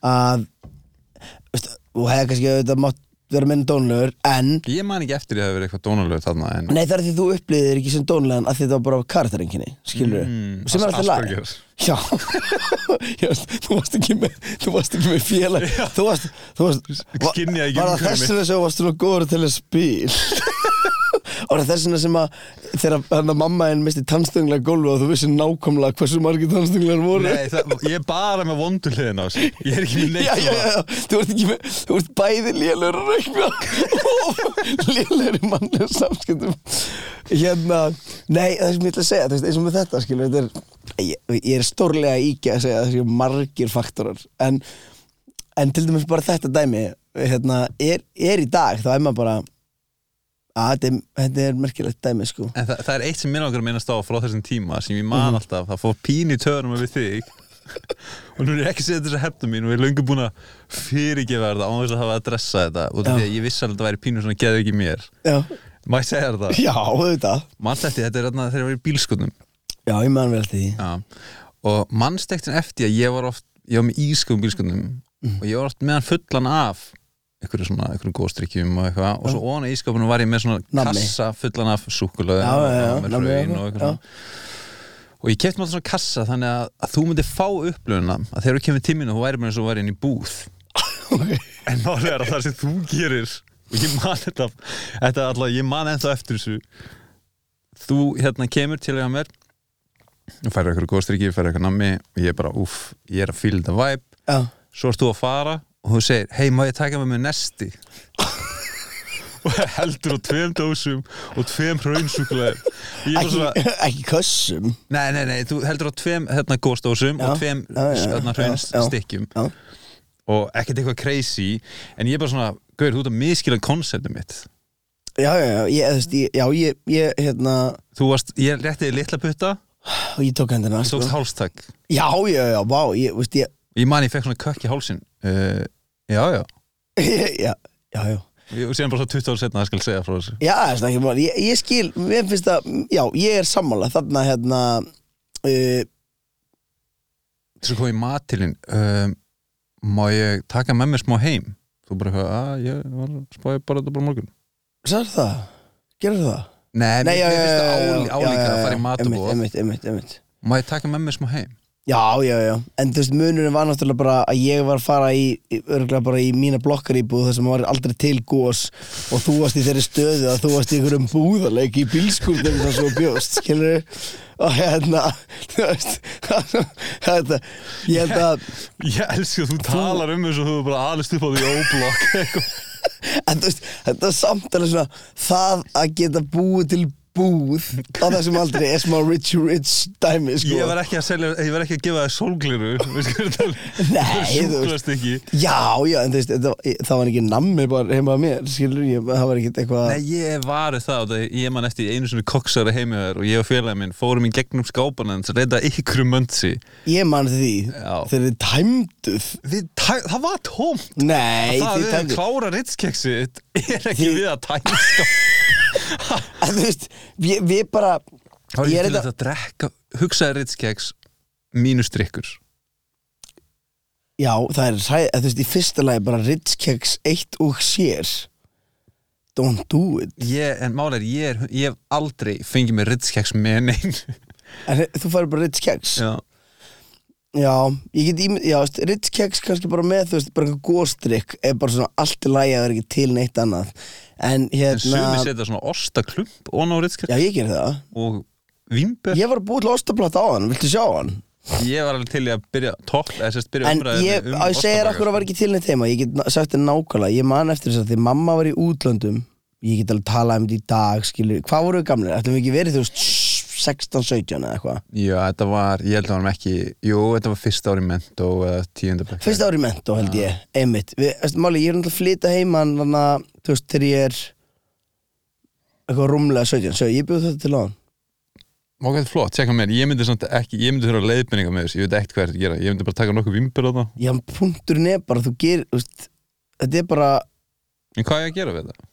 að þú veist, þú hefði kannski auðvitað mátt vera minn dónlegur en ég man ekki eftir ég hafi verið eitthvað dónalög þarna en nei það er því þú upplýðir ekki sem dónlegan að þetta var bara karakterenginni, skilur Mm, sem er As- alltaf lag Asperger. Já, Ég veist, þú varst ekki með þú varst ekki með félag þú varst, þú varst Skynjaði var ekki það umhverfið þess vegna sem þú varst svona góður til að spil og það þess vegna sem að þegar hann að mamma en misti tannstönglega gólfi og þú vissi nákvæmlega hversu margir tannstönglegar voru Nei, það, ég er bara með vondurliðin á þessu Ég er ekki með já, neitt já, já, svona. já, þú ert ekki með, þú ert bæði lélegur að reikna og lélegur í mannlega samskiptum hérna, nei, það sem ég ætla að segja þú veist, eins og með þetta, skilur, þetta er ég, ég er stórlega íkja að segja þessi margir faktorar, en en til dæmis bara þetta dæmi hérna, er, er í dag, þá er maður bara að þetta er, þetta er merkilegt dæmi, sko En það, það er eitt sem mér langar að minnast á frá þessum tíma sem ég man alltaf, það fór pín í törnum við þig og nú er ég ekki séð þess að hefna mín og ég er löngu búin að fyrirgefa þér þetta án þess að hafa að dressa þetta og Já. því að ég vissi alveg að þetta væri pínu svona geðu ekki mér já, Má ég segja þér það? já auðvitað Manst eftir, þetta er þarna þegar ég var í bílskotnum já, ég man vel eftir því Já. og manst eftir eftir að ég var oft ég var með ískum bílskotnum Mm. og ég var oft meðan fullan af einhverju svona, einhverjum góðstrykkjum og eitthvað og svo ofan á ískapinu var ég með svona Nammi. kassa fullan af súkulega Já, já, já, með nammi, hraun já, og eitthvað já. svona og ég kefti mér alltaf svona kassa þannig að, að þú myndir fá upplöfuna að þegar þú kemur tíminu þú væri bara eins og þú væri inn í búð okay. En málið er að það sem þú gerir og ég man þetta, þetta er alltaf, ég man ennþá eftir þessu þú hérna kemur til að mér og færðu eitthvað góðstrykki, færðu eitthvað nammi og ég er bara, uff, ég er að fíla þetta væp já, svo ert þú að fara og þú segir, hei, má ég taka með mér nesti og heldur á tveim dósum og tveim hraunsúkulegum ég er bara ekki, svona, ekki kössum nei, nei, nei, þú heldur á tveim hérna góðstósum Já, og tveim já, já, já, hérna já, já. hraunstykkjum já og ekkert eitthvað crazy en ég er bara svona, gauður, þú ert að miskila konceptum mitt Já, já, já, ég, þú veist, ég, já, ég, ég, hérna, þú varst, ég réttiði litla putta og ég tók hendina, þú sko. tókst hálstak Já, já, já, vá, ég, veist, ég, ég man ég fekk svona kökk í hálsin uh, já, já já, já, já, Ég- og síðan bara svo 20 ára setna að skal segja frá þessu já, það er ekki mál, ég, ég skil, mér finnst það, já, ég er sammála, þarna, hérna, uh, svo kom ég í matilinn um, má ég taka með mér smá heim þú bara eitthvað, að ég var spáði bara þetta bara á morgun sagði það, gerðu það? Nei, mér já, mér já, finnst já, það já, álí- álíka já, að já, fara í já, matabóð Einmitt, einmitt, einmitt, Má ég taka með mér smá heim? Já, já, já, en þú veist, munurinn var náttúrulega bara að ég var að fara í, í- örugglega bara í mína blokkaríbúð þar sem var aldrei til gós og þú varst í þeirri stöðu að þú varst í einhverjum búðarleik í bílskúrnum þar svo bjóst, skilur og hérna, þú veist þetta, ég held að Ég elska að þú talar um þessu og þú er bara alist upp á því sko. óblokk eitthvað. en þú veist, þetta er samt alveg svona það að geta búið til búð á þessum aldrei er smá rich rich dæmi, sko Ég var ekki að selja, ég var ekki að gefa þér sólgliru Við skur þetta Nei, þú veist Sjúklast ekki Já, já, en þú veist, þetta, það var ekki nammi bara heima að mér, skilur, ég, það var ekki eitthvað Nei, ég varu það, það ég man eftir einu svona koksara heimjöður og ég og félagin minn fórum í gegnum skápana hans að reyta ykkur um mönnsi Ég man eftir því Já. Þegar þið tæmduð Það var tóm Nei, þið Það við að tæmduð klára rittskexi er ekki Þið- við að tæma skáp En þú veist, við, við bara Það er Ég er ekki til þetta að drekka hugsaði rittskeks mínus drikkur Já, það er sæð, þú veist, í fyrsta lagi bara Ritz Keks 1 og sér Don't do it ég, En máli er, ég, er, ég hef aldrei fengið mér rittskeks með neinn En þú færi bara Ritz Keks Já, Já, ég get ímynd, já, veist, Ritz keks kannski bara með, þú veist, bara einhver góstrykk er bara svona allt í lagi að vera ekki til neitt annað En En sumi hérna, setja svona ostaklump og ná rittskeks já ég ger það og vimber Ég var að búið til ostaplata á hann, viltu sjá hann? Ég var alveg til í að byrja topp eða sérst byrja En umræðinni ég, að ég segja akkur ostabragð, að sko. var ekki til neitt heima Ég get na- sagt þér nákvæmlega, ég man eftir þess að því mamma var í útlöndum Ég get alveg talað um þetta í dag, skilur Hvað voru við gamlir? Ætlum við ekki verið, þú veist, 16-17 eða eitthvað Já, þetta var, ég held að hann ekki Jú, þetta var fyrsta ári mentó eða tíundabæk Fyrsta ári í mentó held ég, einmitt Við, eftir, Máli, ég er náttúrulega að flytja heima Þannig að, þú veist, þegar ég er Eitthvað rúmlega 17 Svo ég bjóð þetta til á hann Ok, þetta er flott, tjekka mér, ég myndi samt ekki Ég myndi höra leiðbendinga með þessu, ég veit ekkert hvað er að gera Ég myndi bara taka nokkuð vimber á það Já, punkturinn er bara, þú ger, þú veist Þetta er bara, En hvað er ég að gera við þetta?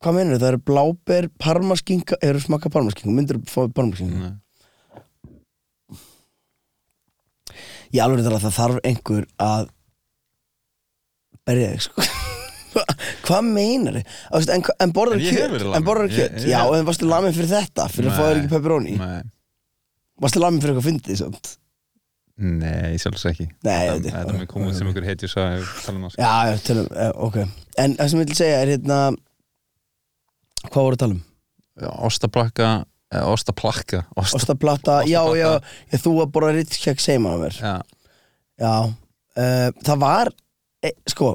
hvað meinur það eru bláber, parmaskinka eru smaka parmaskinka, myndir fá parmaskinka Nei. ég alveg þetta að það þarf einhver að berja þig sko hvað meinar þið? En, hva- en borðar En ég hef kjöt, verið laminn. en borðar Ég- kjöt ég- já, en varstu lamin fyrir þetta, fyrir að fá þér ekki pepperoni Nei, varstu lamin fyrir eitthvað fyndið samt Nei sjálfs ekki nei, Það- þetta Þetta bara- með komað sem einhver hetjur sagði ef við tala um það, sko. já, já, tölum, eh, ok en það sem ég vil segja er hérna hvað voru að tala um? Já, Ostabrakka, eh, ostaplakka Osta, Ostaplata, já, já, Ostaplata. ég þú að borða rittkjökk seima á mér já, Já, uh, það var e, sko,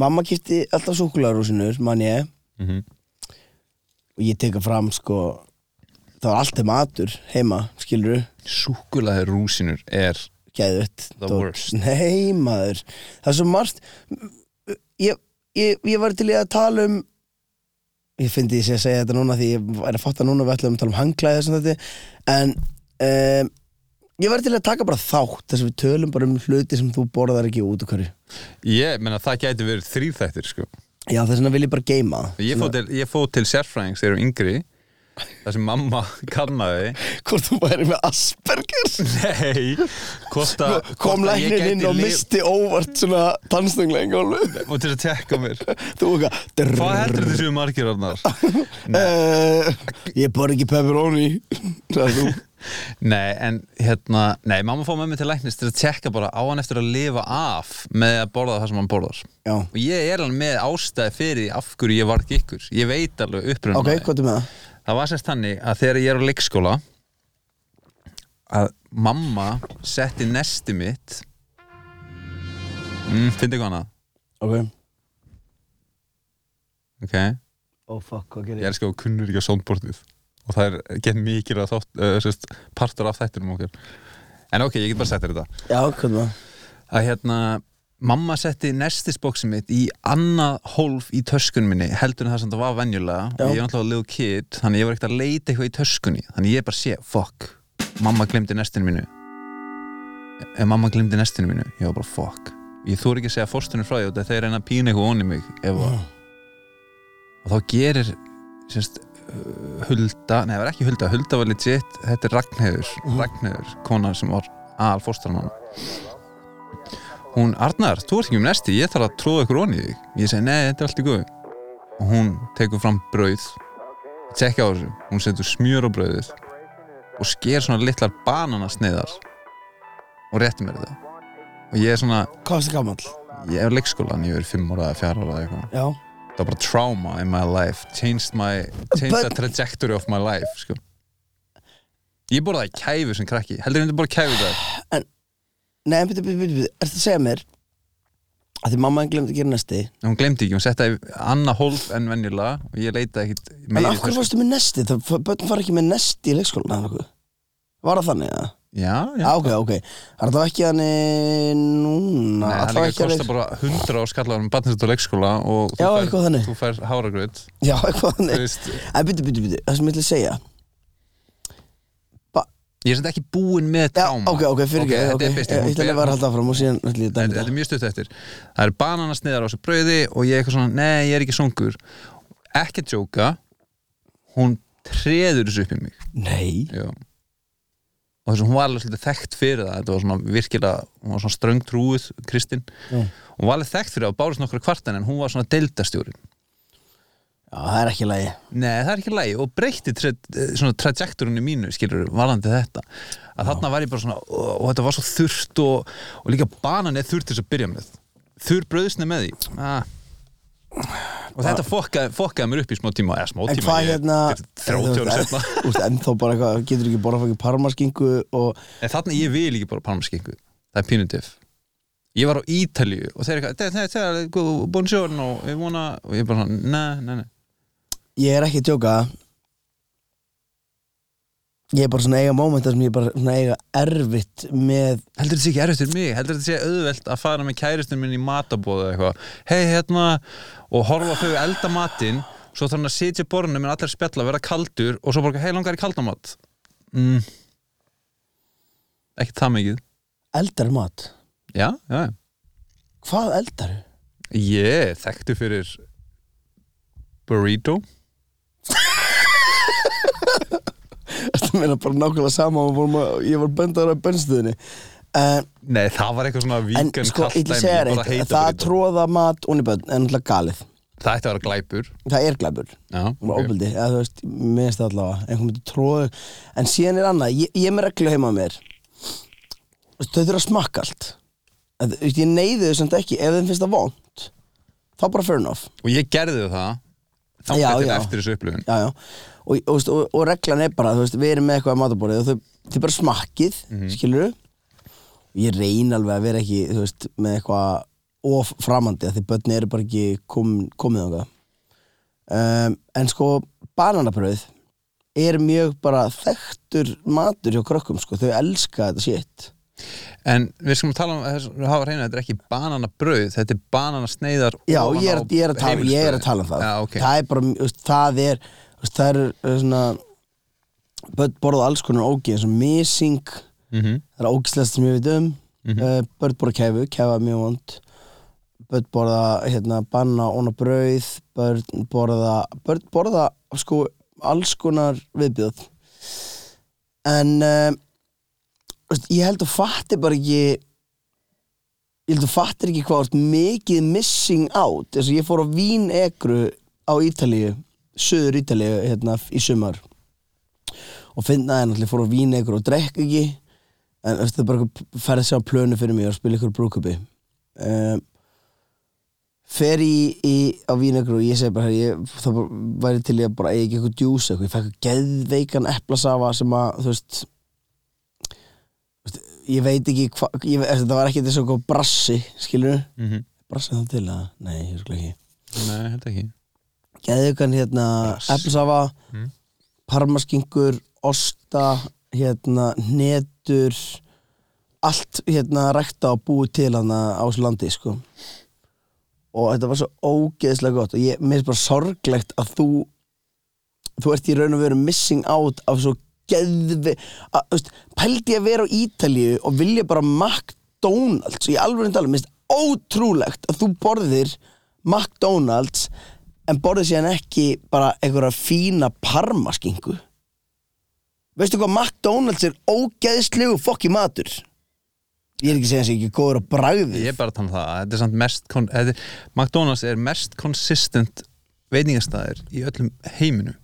mamma kipti alltaf súkularúsinur, man ég mm og ég teka fram sko það var alltaf matur heima, skilur Súkulaði rúsinur er gæðut The worst. Nei, maður, það er svo margt ég, ég, ég var til í að tala um ég fyndi ég sé að segja þetta núna því ég er að fatta núna við ætlum að tala um hangklæði sem þetta en um, ég var til í að taka bara þátt þess að við tölum bara um hluti sem þú borðar ekki út og hverju Ég menna það gæti verið þrýþættir sko Já, þess vegna vil ég bara geima það Ég fó til, ég fó til sérfræðings þegar ég var yngri þar sem mamma kannaði hvort þú væri með Asperger Nei hvort að kom hvort að læknir ég gæti inn og lif- misti óvart svona tannstönglega í gólfi Og til að tekka mér þú okkar Hvað heldur þetta séu margir Arnar? eh, ég borði ekki pepperoni sagði þú Nei, en hérna Nei, mamma fór með mig til læknis til að tekka bara á hann eftir að lifa af með að borða það sem hann borðar já Og ég er alveg með ástæði fyrir af hverju ég var ekki ykkur Ég veit alveg upprunna ok, hvað er með það? Það var sérst þannig að þegar ég er á leikskóla að mamma setti nesti mitt mm, Fyndi hvað hana? ok Ok, oh fuck, hvað ég gerir er sko kunnur ekki á soundboardið og það er gett mikil að þátt, uh, sérst, partur af þættinum okkar En ok, ég get bara sett þér þetta já, hvað er með það? að hérna, mamma setti nestisboksi mitt í annað hólf í töskun minni, heldur en það sem það var venjulega Já. og ég er náttúrulega little kid þannig ég var ekkert að leita eitthvað í töskunni þannig ég bara sé, fuck, mamma glemdi nestinu mínu ef mamma glemdi nestinu mínu, ég var bara fuck ég þú ekki að segja fórstunum frá því og það er reyna að pína eitthvað onni mig ef að og þá gerir sérst, uh, Hulda, nei það var ekki Hulda Hulda var legit, þetta er Ragnheiður Ragnheiður, kona sem var al fóstrann hún, Arnar, þú ert ekki um nesti ég þarf að tróða ykkur onni í þig ég segi, nei, þetta er allt í guð og hún tekur fram brauð tekka á þessu, hún setur smjör á brauðið og sker svona litlar bananasneiðar og rétti mér þetta og ég er svona, Hvað varstu gamall? ég er leikskólan ég er fimm ára eða fjara ára eða eitthvað Já það var bara trauma in my life changed, my, changed But- the trajectory of my life sko. ég borðaði kæfu sem krakki heldur en þetta bara kæfu það Nei, en byrju, byrju, byrju, byrju Ertu að segja mér að því mamma hann glemdi að gera næsti hún glemdi ekki, hún setti það í annað hólf en venjulega og ég leitaði ekkit En meira í af hverju tösku. varstu með nesti? Það, börn fara ekki með nesti í leikskólan eða nokkuð Var það þannig, eða? já, já Já, ok, ok Það er það ekki þannig núna Nei, það allavega líka alveg- kostar bara 100 á skallarum barnist og leikskóla og Já, þú fær, eitthvað þannig. þú fær háragröð Já, eitthvað Þú þannig veist, En byrju, byrju, byrju, það sem ég ætla að segja ég er sem ekki búinn með Já, tráma ok, ok, fyrir ekki þetta er Ég ætla að besti, vera að halda áfram og síðan ætla ég að þetta dæmi þetta er mjög stutt eftir það er bananasniðar á þessu brauði og ég er eitthvað svona, nei, ég er ekki songur ekki að djóka hún treður þessu upp í mig þetta Nei Já. og þess að hún var alveg svolítið þekkt fyrir það þetta var svona virkilega, hún var svona ströng trúið Kristinn, Já. hún var alveg þekkt fyrir það og bárist nokkra kvartan en hún var svona deildastjórin Já, það er ekki lægi Nei, það er ekki lægi og breytti tra eh, svona trajektorinu mínu, skilur, varandi þetta að þarna var ég bara svona og, og þetta var svo þurrt og, og líka banan er þurrt til þess að byrja með þurr bröðsni með því ah. og þetta fokkaði, fokkaði mér upp í smá tíma eða smá En tíma, hvað hérna þú þrjóttjóra setna veist, Ennþá bara eitthvað, getur ekki borða fækki parmaskingu og en þarna ég vil ekki bara parmaskingu það er pínutif ég var á Ítalíu og þeir eitthvað "Þetta- þetta er góð- buongiorno, ég vona og ég bara svona, nei, nei, nei ég er ekki að tjóka Ég er bara svona að eiga mómentar sem ég er bara svona að eiga erfitt með heldur þetta sé ekki erfitt fyrir mig heldur þetta sé auðvelt að fara með kæristinn minn í matabóðu eða eitthvað hei hérna og horfa á þau elda matinn svo þarf hann að sitja í borðinu með allir spjalla vera kaldur og svo bara hei langar í kaldamat mm. ekki það mikið eldar mat já, já, já. Hvað eldar? ég er þekktu fyrir burrito Þetta meina bara nákvæmlega sama og vorum að, ég var bendar að benstuðinni En, nei það var eitthvað svona en víkan sko, ég ætla að segja reitt Það að tróða mat og nýbönn er náttúrulega galið það ætti að vera glæpur Það er glæbur já, og ok. ofbeldi, eða þú veist, minnst það allavega einhvern veginn tróðu, en síðan er annað ég, ég er með reglu heima á mér Þú veist, þau þurfa að smakka allt en, þú veist, ég neyði þau samt ekki ef þeim finnst það vont þá bara fair enough og ég gerði það þá Já, þetta já. eftir þessu upplifun já, já. Og, og, veist, og, og reglan er bara, þú veist, við erum með eitthvað að matabórið og þau, þau bara smakkið, mm Mhm. skilur ég reyn alveg að vera ekki, þú veist, með eitthvað of framandi, af því börni eru bara ekki kom, komið þangað um, en sko, bananabröð er mjög bara þekktur matur hjá krökkum, sko, þau elska þetta shit En við skulum tala um, þess- hafa reyna, þetta er ekki bananabrauð, þetta er bananasneiðar Já, ofan ég er, á ég, er að tala, ég er heimilisbrauðið. að tala um það Já, ok. Það er bara, þú veist, það er þú veist, Það er svona Börn borða alls konar ógi eins og mising Mhm. Það er ógislegast sem ég veit um mm Börn borða kefu, kefa er mjög vond Börn borða hérna, banna óna brauð Börn borða Börn borða sko alls konar viðbjöð En um, þú veist, Ég held að fatti bara ekki ég held að þú fattir ekki hvað þú ert mikið missing out þess að ég fór á Vín Egru á Ítalíu söður Ítalíu hérna í sumar og finnaði náttúrulega fór á Vín Egru og drekk ekki en þú veist, það er bara eitthvað ferð að sjá plönu fyrir mig og spila ykkur brúkupi um, fer í, í á Vín Egru og ég segi bara "Herra, ég, það bara væri til ég að bara eiga ekki eitthvað djús eitthvað, ég fæk eitthvað geðveikan eplasafa sem að þú veist ég veit ekki hvað þetta var ekki þessu okkur brassi skilur Mhm. brassi þá til að nei, ég skil ekki Nei, held ekki geðugan hérna Brass. eflisafa Mm. parmaskingur osta hérna netur allt hérna rækta og búið til hann á þessu landi sko og þetta var svo ógeðslega gott og ég minnst bara sorglegt að þú þú ert í raun og veru missing out af svo geðvi að, þú veist, pældi ég að vera á Ítalíu og vilja bara McDonalds og ég alveg reyndi alveg, minnst ótrúlegt að þú borðir McDonalds en borðir síðan ekki bara einhverja fína parmaskingu veistu hvað McDonalds er ógeðslegu fokki matur ég er ekki að segja þess að ég er ekki góður á bragði Ég er bara að tala um það, að þetta er samt mest kon- þetta er, McDonalds er mest consistent veitingastæðir í öllum heiminum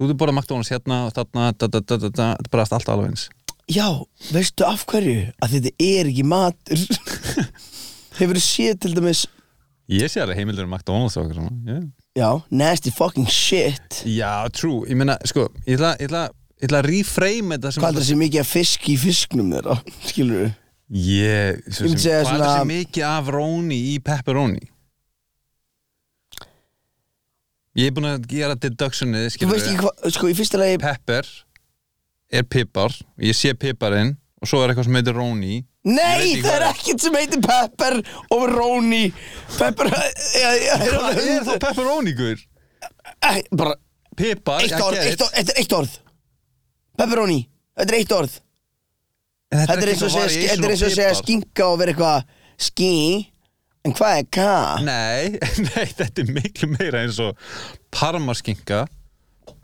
þú ert borðað McDonalds hérna og þarna da, da, da, da, da, þetta er bara allt alveg eins Já, veistu af hverju? Að þetta er ekki matur Hefur séð til dæmis ég sé alveg heimildur um McDonalds og okkur svona yeah. Já, nasty fucking shit já, true, ég meina, sko ég ætla, ég ætla, ég ætla að reframe þetta sem Hvað er það sem mikið að fisk í fisknum þeirra? Skilur við? ég, Ég svo myndi sem, segja hvað er það svona- sem mikið af róni í pepperoni ég er búin að gera deductionið, Þú skilur veist ekki hvað, sko í fyrsta lagi pepper er pipar ég sé piparinn og svo er eitthvað sem heitir róni Nei, ekki það er hvað- ekkert sem heitir pepper og róni Pepper, já, já, er Hvað er þá alveg- pepperóníkur? Æ, Bara, Pipar, eitt orð, eitt orð, þetta er eitt orð Pepperoni, þetta er eitt orð Þetta er eins og að segja- þetta er eins og að segja skinka og vera eitthvað ski En hvað er ka? Nei, nei, þetta er miklu meira eins og parmaskinka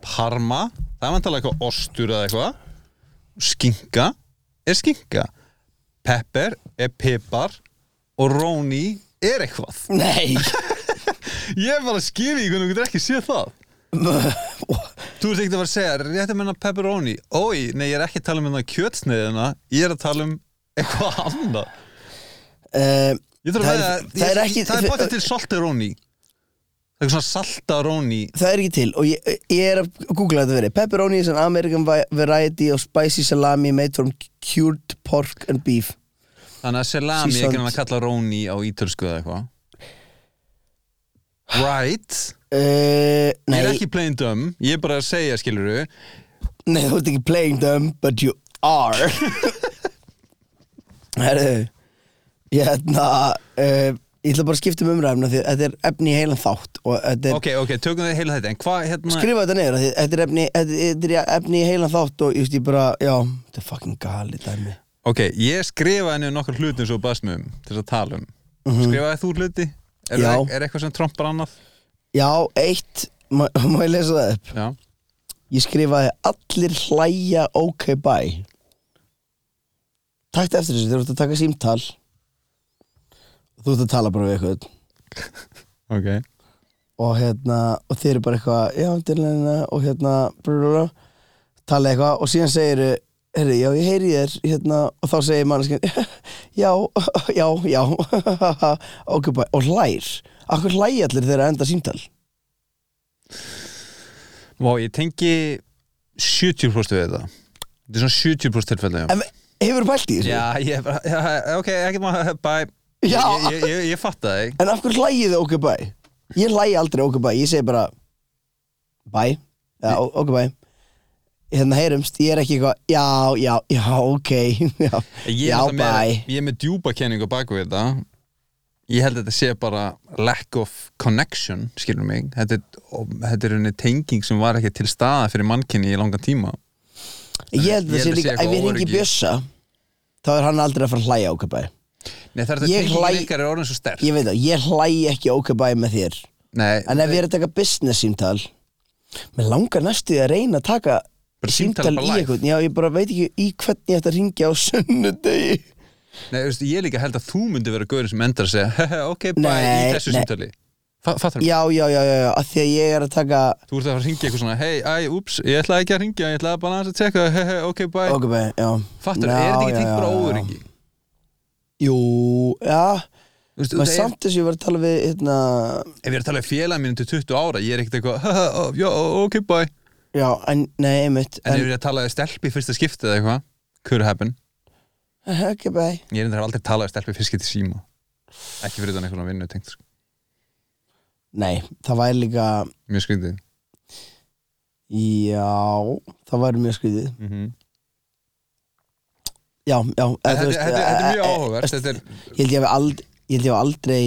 Parma, það er vantalega eitthvað ostur eða eitthvað Skinka er skinka Pepper er pipar og róni er eitthvað Nei Ég er bara að skýra í hvernig þú getur ekki séð það Þú ert ekkert að fara að segja, rétt að menna pepperoni Ói, nei, ég er ekki að tala um hérna kjötsneiðina Ég er að tala um eitthvað annað Eh, Ég þarf að Það er- veða, það er ekki- það er báttið til saltaroni Eitthvað svona saltaroni Það er ekki til og ég, ég er að googla þetta verið Pepperoni is an American vi- variety of spicy salami made from cured pork and beef Þannig að salami er Seasoned. ekki hann að kalla roni á ítölsku eða eitthvað Right uh, Ég er Nei, ekki plain dumb, ég er bara að segja, skilurðu nei, þú ert ekki playing them but you are Herru Hérna uh, Ég ætla bara að skipta um umræðum því að þetta er efni í heilan þátt og þetta er Ok, ok, tökum við heila þetta En hvað, hérna skrifa þetta neður af því þetta er efni, þetta þetta er efni í heilan þátt og ég veist ég bara, já, þetta er fucking gali dæmi Ok, ég skrifaði henni nokkur hluti eins og basmum til þess að tala um Skrifaði þú hluti? Er, Mhm. Já. er eitthvað sem trompar annað? Já, eitt, má, má ég lesa það upp Já Ég skrifaði allir hlæja ok bye Takk eftir þessu, þú ert að taka símtal Þú ert að tala bara við eitthvað Ok Og hérna, og þeir eru bara eitthvað Já, dyrleina, og hérna brúrúrú, Tala eitthvað og síðan segir Herri, já, ég heyri í þér hérna, Og þá segir manneskinn Já, já, já Ok bye, og hlær Akkur hlæja allir þegar enda símtal Vá, ég tengi 70% við þetta Þetta er svona 70% tilfelli já. En hefur pælt í þessu? Já, ég bara, já, ok, ekki maður Bye Já. Ég, ég, ég, ég fatta það, ekki En af hverju hlægið þið okkur bæ? Ég hlægi aldrei okkur bæ, ég segi bara Bæ, já, ó- okkur bæ Hérna heyrumst, ég er ekki eitthvað Já, já, já, ok Já, Ég já er náttúrulega með, bæ ég er með djúpa kenningu bak við þetta Ég held að þetta sé bara lack of connection, skilur mig Þetta er, og, þetta er unni tenging sem var ekki til staða fyrir mannkinni í langan tíma Ég held að það sé Ég held að sé líka, ef eitthvað ég ringi óöryggi. Bjössa Þá er hann aldrei að fara að hlæja okkur bæ Nei, það er þetta Ég tengingin hlæ- ykkar er orðin svo sterk Ég veit það, ég hlægi ekki okkur bæ með þér Nei, En ef ég er að taka business símtal Mér langar næstu því að reyna að taka Bara símtal Símtal bara í live. eitthvað Já, ég bara veit ekki í hvernig ég ætti að ringja á sunnudegi Nei, veist, ég líka held að þú myndi vera gaurin sem endar að segja "Hehe, ok, bæ, í Nei, þessu nei. símtali Fa- Fattar mig, Já, já, já, já, já, að því að ég er að taka þú ert að fara að ringja eitthvað svona hei, æ, úps, ég ætlaði ekki að ringja, ég ætlaði bara aðeins að tjekka hehe, ok, bæ, Ok, bæ, já fattar, Já, er þetta ekki já, tengt já, bara já. óöringi Jú, já Þú veist, Menn það er, samt þess að ég var að tala við hérna ef ég er að tala um félag mínu til 20 ára, ég er ekkert eitthvað "Haha, ó, já, ó, ok, bæ, en, Já, en, nei, einmitt ef En, ég er að tala um stelpi í fyrsta skipti eða eitthvað, could happen ok, bæ ég er endur aldrei að tala um stelpi í fyrsta skipti síma ekki fyrir þannig einhvern vinnu tengt sko. Nei, það væri líka mjög skrýndið Já, það væri mjög skrýðið mm -hmm. Já, já eða, þetta þú þetta- veist, þetta er eh, mjög eh, áhugavert eh, þetta er Ég held ég hafi ald- ég held ég hafi aldrei Ég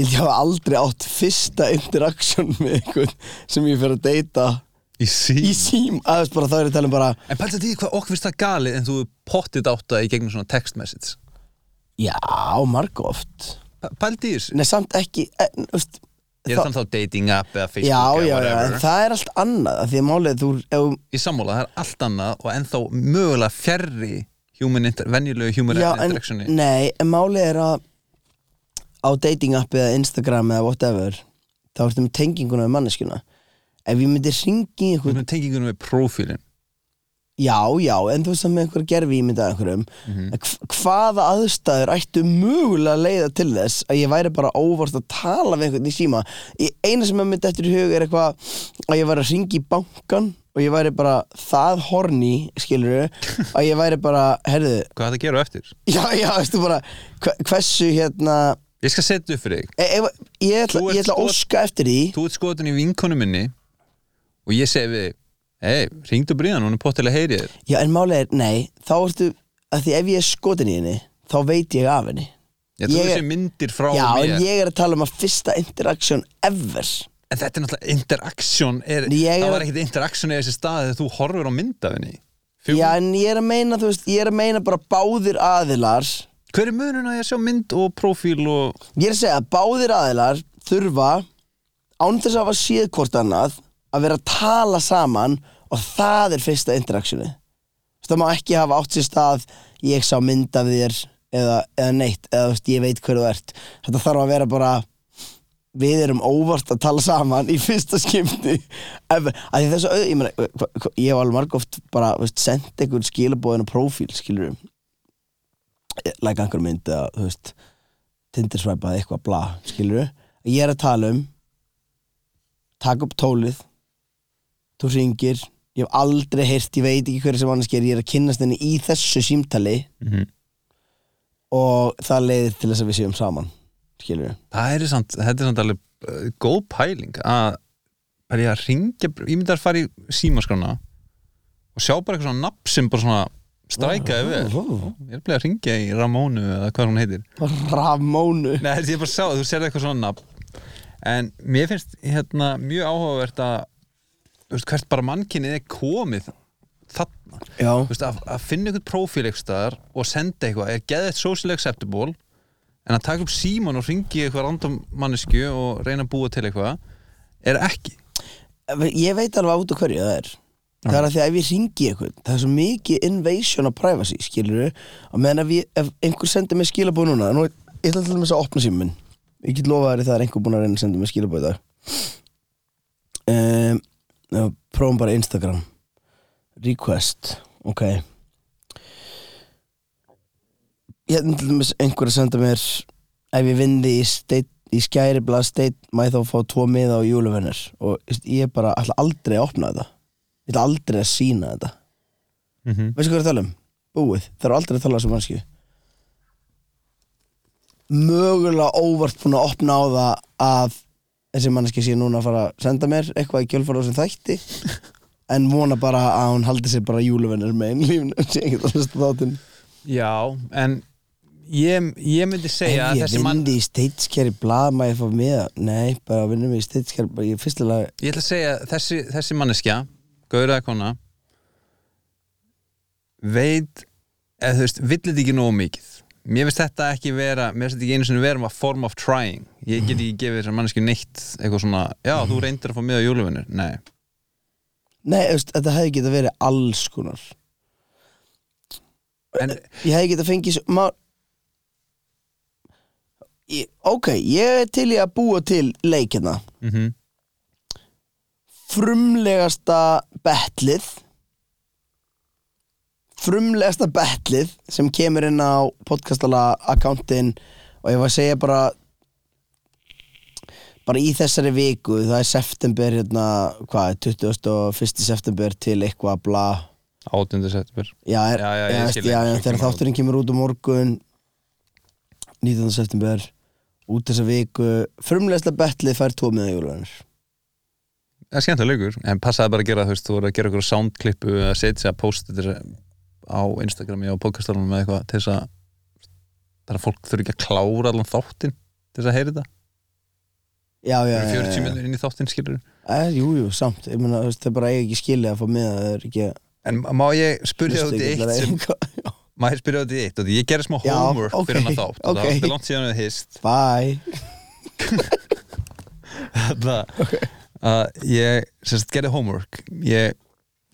held ég hafi aldrei átt fyrsta interaction með einhvern sem ég fyrir að deyta í síma í sím, aðeins bara þá er ég að tala um bara En pælta því hvað okkur finnst það galið en þú pottit átt það í gegnum svona text message Já, margóft Pælti í þessu Nei, samt ekki en, þú veist, Ég er þá- þannig þá dating app eða Já, Facebook eða já, já, whatever. en það er allt annað af Því að málið að þú, ef, Ég sammála, það er allt annað og ennþá mögulega fjarrri human inter, venjulegu human já, en, Mm. interactioni nei, en málið er að á dating appi eða Instagram eða whatever þá ertu með tenginguna við manneskjuna ef ég myndi ringi í einhvern Hvernig tengingunum við prófílin já, já, en þú veist að með einhver gerfi ég myndi að einhverjum Mhm. Hv- hvaða aðstæður ættu mögulega að leiða til þess að ég væri bara óvart að tala við einhvern í síma Í- eina sem ég myndi eftir í hug er eitthvað að ég væri að ringi í bankan og ég væri bara það horni skilur að ég væri bara, herðu Hvað er þetta að gera á eftir? já, já, veistu bara hve- hversu hérna Ég skal setja upp fyrir þig e, e, ég ætla, Þú ert ég ætla að skot- óska eftir því Þú ert skotin í vinkonu minni og ég segi við Hei, ringdu bríðan, hún er pottilega heyrið þér já, en málega er, nei, þá ertu að því ef ég er skotin í henni þá veit ég af henni Ég þú Ég- þessi myndir frá já, mér en ég er að tala um að fyrsta interaction ever En þetta er náttúrulega interaction er, Ég er- Það var ekkit interaction eða þessi stað þegar þú horfir á myndafinni já, en ég er að meina, þú veist, ég er að meina bara báðir aðilar ég Hver er munun að ég sjá mynd og prófíl og er að segja að báðir aðilar þurfa án þess að hafa séð hvort annað að vera að tala saman og það er fyrsta interactioni það má ekki hafa átt sér stað ég sá mynd af þér eða, eða neitt, eða þú veist, ég veit hver þú ert þetta þarf að vera bara við erum óvart að tala saman í fyrsta skipti ef, að því þessu, ég meina hva- hva- ég hef alveg margóft bara, þú veist, sendt einhvern skilabóðin og prófíl, skilur læka einhver mynd eða, þú veist tindirsvæpað eitthvað bla, skilur ég er að tala um taka upp tólið þú ringir, ég hef aldrei heyrt ég veit ekki hverja sem annars gerir, ég er að kynnast henni í þessu símtali og það leiðir til þess að við séum saman skilur Það er samt, þetta er samt alveg uh, góð pæling að bara ég að ringja ég myndi að fara í símaskrána og sjá bara eitthvað svona nafn sem bara svona strækaði vel Ég er bara að ringja í Ramónu eða hvað hún heitir Ramónu Nei, þetta ég bara sá, þú serði eitthvað svona nafn En mér finnst hérna mjög áhugavert að þú veist, hvert bara mannkynnið er komið þarna Já, Þú veist, að, að finna eitthvað prófíl eitthvað staðar og senda eitthvað er geðið social acceptable en að taka upp síman og ringi eitthvað random mannesku og reyna að búa til eitthvað er ekki ég veit alveg út af hverju það er Það er að því að ef ég ringi eitthvað Það er svo mikið invasion of privacy Skilur Og meðan ef, ég, ef einhver sendir mér skilabóð núna Nú, ég ætla til þess að opna síminn Ég get lofað þér að það er einhver búinn að reyna að senda mér skilabóð í dag um, já, Prófum bara Instagram Request Ok Ég ætla Hérna til þess einhver að senda mér ef ég vindi í, steit, í skæri blað steit maður þá fá tvo miða á júluvennir og þú veist, ég bara ætla aldrei að opna þetta ég ætla aldrei að sína þetta mm -hmm. veistu hvað ég er að tala um? Búið, það eru aldrei að tala sem mannskju mögulega óvart búin að opna á það að þessi mannski sé núna að fara að senda mér eitthvað í kjölfara á sem þætti en vona bara að hún haldi sér bara júluvennir með einn lífn sé ekki að hlusta á þáttinn Já, en ég, ég myndi Ef segja að ég þessi mann vindi í steitskeri blað maður ég fá miða Nei, bara vinnum í steitskeri blað Ég fyrstilega ég ætla að segja að þessi, þessi manneskja gauður eða kona veit eða þú veist, villit ekki nógu mikið mér finnst þetta ekki vera mér finnst þetta ekki einu sinni vera a form of trying ég get ekki gefið þessar manneskju neitt eitthvað svona, já, þú reyndir að fá miða júluvinnur nei, Nei, þú veist, þetta hefði getað verið alls konar en Ég hefði getað fengið svo má... ég, Ok, ég er til í að búa til leik hérna mm Frumlegasta betlið Frumlegasta betlið sem kemur inn á podcastala akkántin og ég var að segja bara bara í þessari viku það er september hérna, hvað, 21. september til eitthvað bla 8. september já, er, Já, já, ég ég skil veist, já, já, þegar ekki hvað kemur út. þátturinn kemur út á morgun 19. september út þessa viku frumlegsta betlið fær tvo miða jólunir það er skemmtilega leikur, en passaði bara að gera þú veist, þú voru að gera eitthvað soundklippu eða setja sig að posta þetta á Instagrami og podcastalunum eða eitthvað til þess að það er að fólk þurfi ekki að klára allan þáttinn til þess að heyri þetta já, já, Það já, eru 40 já, já. minnur inn í þáttinn skilur Eh, jú, jú, samt, ég meina, þú veist, það bara eiga ekki skilið að fá miða það er ekki En má ég spyrja hlusta út í ekki eitt allar sem, eiga. Má ég spyrja út í eitt og því ég gerði smá Já, homework ok, fyrir hann að þátt og ok. það var alltaf langt síðan við hist bye Það að ég sérst gerði homework Ég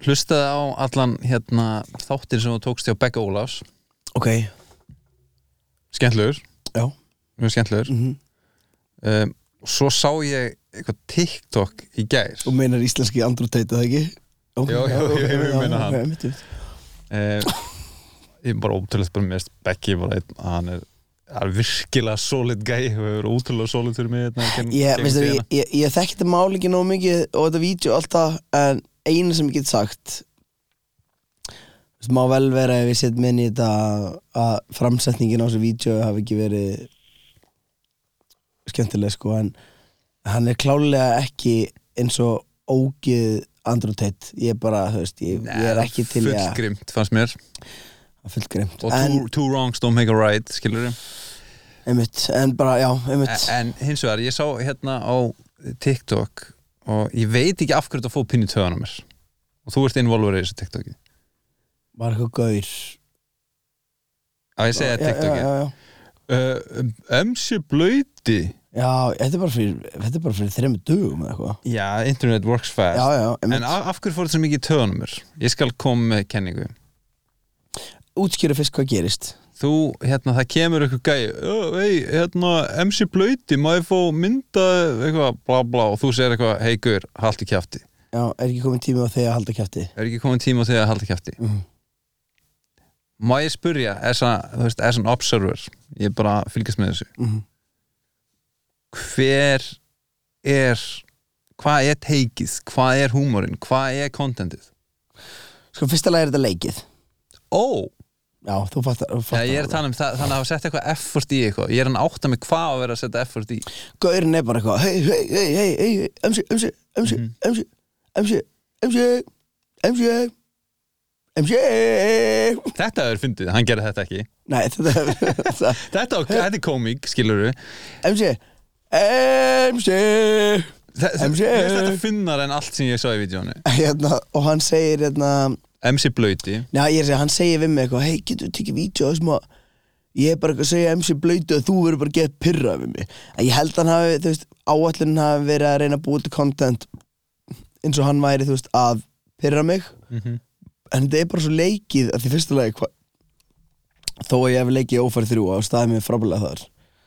hlustaði á allan hérna þáttin sem þú tókst hjá Becca Ólafs ok, Skemmtlegur, já mjög skemmtlegur mhm. um, og svo sá ég eitthvað TikTok í gær Þú meinar íslenski Andrew Tate, eða ekki? Okay, Jú, jú, jú, ég meina hann. hann Þú eh, ég er bara ótrúlega bara mest Becky bara einn að hann er, hann er virkilega solid gæi hefur verið ótrúlega solid fyrir mig hérna, gegn- Ég, gegnum veistu, ég, tíðina. ég, ég þekki þetta mál ekki nóg mikið og þetta vídeo og allt það, en eina sem ég get sagt veistu, má vel vera ef ég set minn í þetta að framsetningin á þessu vídeo hafi ekki verið skemmtileg sko en hann er klálega ekki eins og ógið Andrew Tate ég er bara, þú veist, ég, ég er ekki til í að fullgrimt fannst mér fullgrimt og en, two, two wrongs don't make a right skilur einmitt, en bara, já, einmitt en hins vegar ég sá hérna á TikTok og ég veit ekki af hverju þetta fóð pinni töðan á mér og þú ert involverið í þessu TikToki var eitthvað gaur að ég segja já, já, TikToki já, já. uh, Emsi Blöyti Já, þetta er bara fyrir, þetta er bara fyrir þremmu dugum eða eitthvað. já, internet works fast Já, já, en einmitt. af, af hverju fór þetta svo mikið í töðan á mér ég skal koma með kenningu Útskýra fyrst hvað gerist. þú, hérna, það kemur eitthvað gæi "Ö, hey, hérna, MC Blöyti má ég fá mynda eitthvað, bla bla, og þú segir eitthvað hei guður, haldi kjafti Já, er ekki komin tími á þig að halda kjæfti? er ekki komin tíma á því að halda kjafti Mhm. má ég spurja as a, þú veist, as an observer ég bara fylgjast með þessu Mhm. hver er hvað er teikið, hvað er húmorinn hvað er kontentið Sko, fyrsta lagi er þetta leikið. ó, Já, þú fattar. þú ja, fattar ég er að tala um það, þannig að hafa sett eitthvað effort í eitthvað, ég er hann átta mig hvað á að vera að setja effort í Gaurinn er bara eitthvað, hei, hei, hei, hei, hei, emsi, emsi, emsi, Mhm. emsi, emsi, emsi, emsi, emsi. þetta er fyndið, hann gerði þetta ekki Nei, þetta er, þetta er, þetta, þetta er komík, skilur við emsi, emsi. MC. þetta finnar en allt sem ég sá í vídjónu Hérna, og hann segir, hérna, MC Blöyti Nei, ég er að segja, hann segir við mig eitthvað Hei, getur þú tekið vídeo þessum að Ég er bara eitthvað að segja MC Blöytu að þú verður bara að geta pyrrað við mig En ég held hann hafi, þú veist, áallunin hafi verið að reyna að búið til content eins og hann væri, þú veist, að pyrra mig Mhm. En þetta er bara svo leikið að því fyrsta lagi hva... Þó að ég hef leikið ófæri þrjú á staðið mér frábælega þar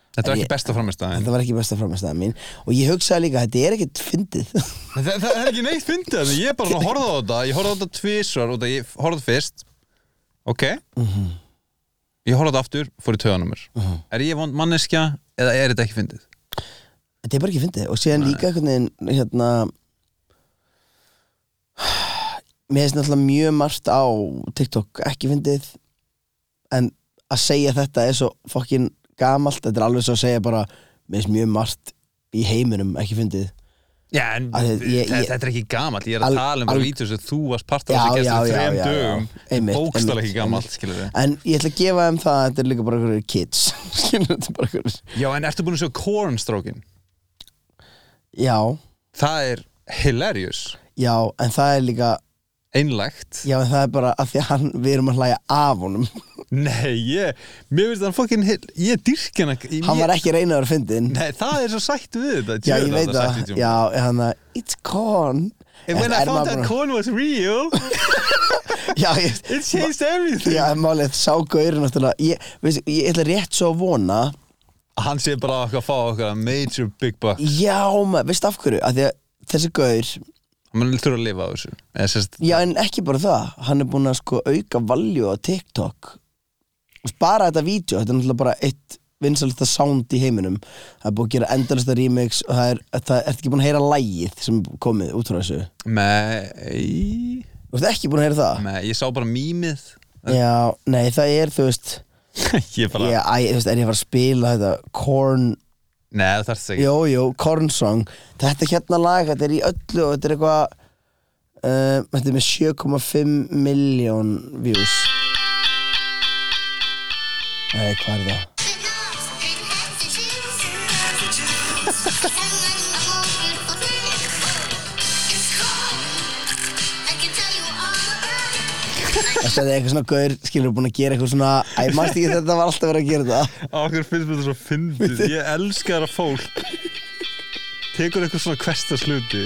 þetta var En ég- ekki besta framistæðin Þetta var ekki besta framistæða mín Og ég hugsaði líka, þetta er ekkert fyndið það, það er ekki neitt fyndið þarna. ég er bara svona að horfa á þetta ég horfa á þetta tvisvar og það ég horfa á þetta fyrst ok Mhm. ég horfa á þetta aftur, fór í töðanumur er ég vond manneskja eða er þetta ekki fyndið Þetta er bara ekki fyndið og síðan líka einhvern veginn hérna mér finnst náttúrulega mjög margt á TikTok ekki fyndið en að segja þetta er svo fokkin gamalt, þetta er alveg svo að segja bara mér finnst mjög margt í heiminum ekki fyndið já, en Að ég- ég- þetta- þetta er ekki gamalt ég er Al- að tala um bara al- vídeos sem þú varst part af Já, þessu já, gestur já, þreim já, já. dögum Einmitt, bókstala einmitt, ekki gamalt, skilur við en ég ætla að gefa þeim það að þetta er líka bara einhverjir kids skilur þetta er bara einhverjir já, en ertu búin að sjá Kornstrókin já, það er hilarious já, en það er líka einlægt já, en það er bara að því að hann, við erum að hlæja af honum Nei, ég, mér finnst hann fokkin ég dyrk hann ekki hann var ekki reynaður að fyndin Nei, það er svo sætt við þetta Já, ég djöfull veit er þetta það, sætt við já, hann að It's corn And when I Er found maður that búinn að- corn was real Já, ég, It changed everything já, en málið, sá gaurin náttúrulega ég, veist, ég ætla rétt svo að vona Hann sé bara okkar að fá okkar að major big buck Já, maður, veist af hverju að Því að þessi gaur, Hann þurfa að lifa á þessu Eða, sérst, já en ekki bara það Hann er búinn að sko auka valju á TikTok og spara þetta vídeo Þetta er náttúrulega bara eitt vinsalista sound í heiminum Það er búið að gera endalista remix og það er, það er ekki búinn að heyra lægið sem er komið út frá þessu Nei, Þú ert ekki búinn að heyra það? nei, ég sá bara mýmið Já, nei, það er, þú veist Ég bara, Já, æ, þú veist, er ég að fara að spila þetta Korn, nei það þarf ekki jú, jú, Korn song Þetta er hérna lag, þetta er í öllu og þetta er eitthvað uh, Þetta er með 7,5 miljón views Nei, hvað er það? Þetta er eitthvað svona gaur, skilur, búin að gera eitthvað svona Æ, mást ekki þetta var alltaf verið að gera þetta Okkur finnst mér þetta svo fyndið Ég elska það að fólk Tekur eitthvað svona hversta sluti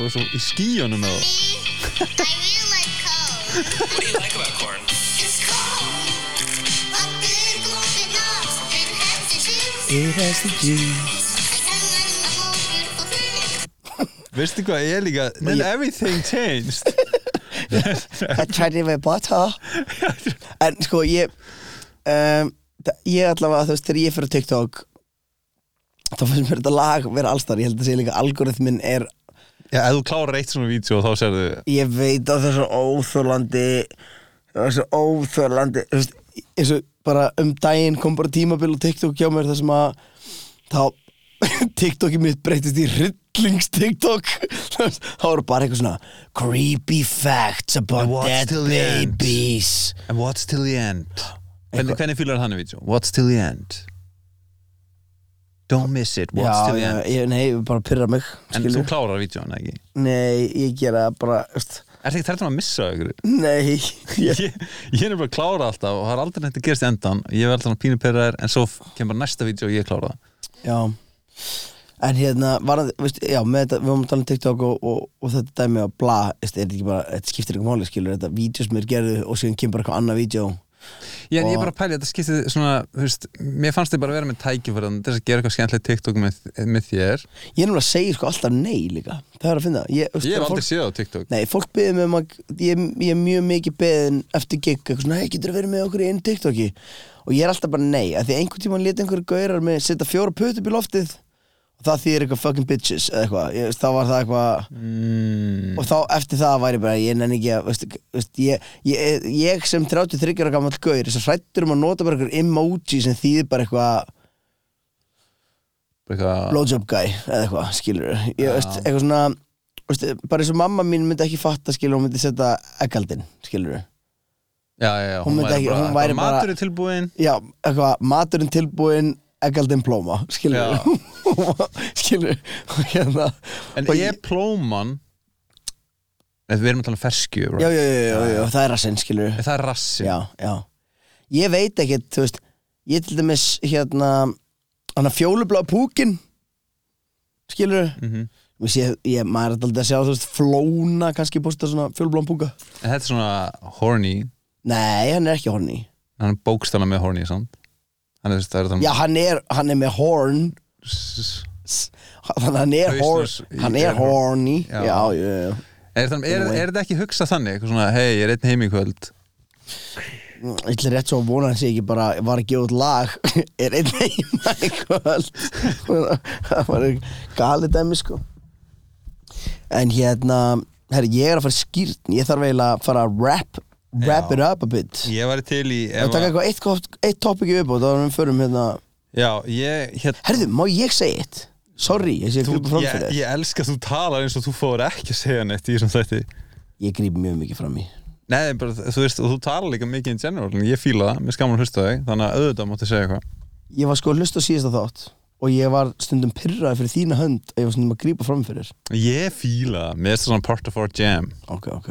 Og svo í skíjónum með það What do you like about corn? It has the juice I veistu hvað ég er líka then everything changed I tried it with butter En sko ég um, það- Ég allavega þú veist þegar ég fyrir TikTok þá finnst mér þetta lag vera allstar ég held að segja líka algoritminn er já, ef þú klárar eitt svona vídeo þá serðu ég veit að það er svo óþörlandi það er svo óþörlandi þú veist, eins og bara um daginn kom bara tímabil og TikTok hjá mér þar sem að þá TikTokið mitt breytist í hryllings TikTok Þú veist, þá eru bara eitthvað svona creepy facts about And what's dead till the end? babies and what's till the end hvernig, hvernig fylgur hann vídeo what's till the end don't miss it what's já, till the já, end ég, nei, ég bara pyrra mig en þú skilur. klárar vídeoan ekki nei, ég gera það bara þú veist, er þetta ekki þrættum að missa ykkur nei, ég, ég, ég er bara að klára alltaf og það er aldrei nætti að gerast í endan ég er alltaf að pínu perraðir en svo kemur bara næsta vídeo og ég klára það Já En hérna, varandi, veist, já, með þetta, við vorum að tala um TikTok og, og, og þetta dæmi að bla, veist, er þetta ekki bara, þetta skiptir ekki máli, skilur, þetta vídeo sem er gerðu og síðan kemur bara eitthvað annað vídeo. ég, ég Og- er bara að pæla, í þetta skiptið svona þú veist, mér fannst þið bara að vera með tækifæðan þess að gera eitthvað skemmtilegt TikTok með, með þér Ég er náttúrulega að segja sko alltaf nei líka, það er að finna. Ég, veist, ég hef fólk- aldrei séð á TikTok Nei, fólk beðið mig um að, ég, ég er mjög mikið beðin eftir gig, eitthvað svona, hei, getur að vera með okkur í einu TikToki? Og ég er alltaf bara nei, að því einhvern tímann lét einhverju gaurar með setja fjóra putum í loftið og það þýðir eitthvað fucking bitches eða eitthvað, Ég- þá var það eitthvað, mm, og þá eftir það væri bara ég nenni ekki að veist, veist, ég, ég, ég sem 33 ára gammal gaur þess að hrættur um að nota bara einhver emoji sem þýðir bara eitthvað bara eitthvað, blowjob guy eða eitthvað skilur ég, veist, eitthvað svona veist, bara eins og mamma mín myndi ekki fatta skilur hún myndi setja eggaldin skilur já, já, já, Hún myndi ekki- hún væri bara- matur er tilbúin já eitthvað maturinn tilbúin eggaldin plóma skilur Já. skilur hérna en Og ég plóman Nei, við erum að tala um ferskju right? já, já, já, já, já, það er að sinn skilur það er rassi já, já. ég veit ekkert, þú veist ég til dæmis hérna hann að fjólublá púkin skilur Mhm. við sé, ég, maður er alltaf að sjá þú veist flóna kannski posta svona fjólublá púka en þetta er svona horny nei, hann er ekki horny hann er bókstala með horny samt hann er, þú veist, það er það já, hann er, hann er með horn s- þannig að hann er, Hausnus horn, í- hann er er- horny já, já. já, já, já. Er, það, er, er þetta ekki hugsað þannig? Eitthvað svona, hei, ég er einn heim í kvöld Ég ætla rétt svo að vona hans ég ekki bara var að gefa út lag er einn heima í kvöld það var galið dæmi sko en hérna herri, ég er að fara skýrt ég þarf eiginlega að fara að wrap wrap Já. it up a bit Ég var til í og taka að, eitthvað eitt, gott- eitt topic upp og þá erum við förum hérna Já, ég hér, herðu, má ég segja eitt? sorry, ég sé að þú, grípa fram ég, fyrir þér ég elska að þú talar eins og þú fór ekki að segja neitt í þessum þætti ég gríp mjög mikið fram í Nei, bara, þú veist, og þú talar líka mikið in general en ég fíla það, mér skaman hlusta þig þannig að auðvitað mátti segja eitthvað ég var sko að hlusta á síðasta þátt og ég var stundum pyrraði fyrir þína hönd og ég var stundum að grípa fram fyrir Ég fíla það, mér er þetta svona part of our jam ok, ok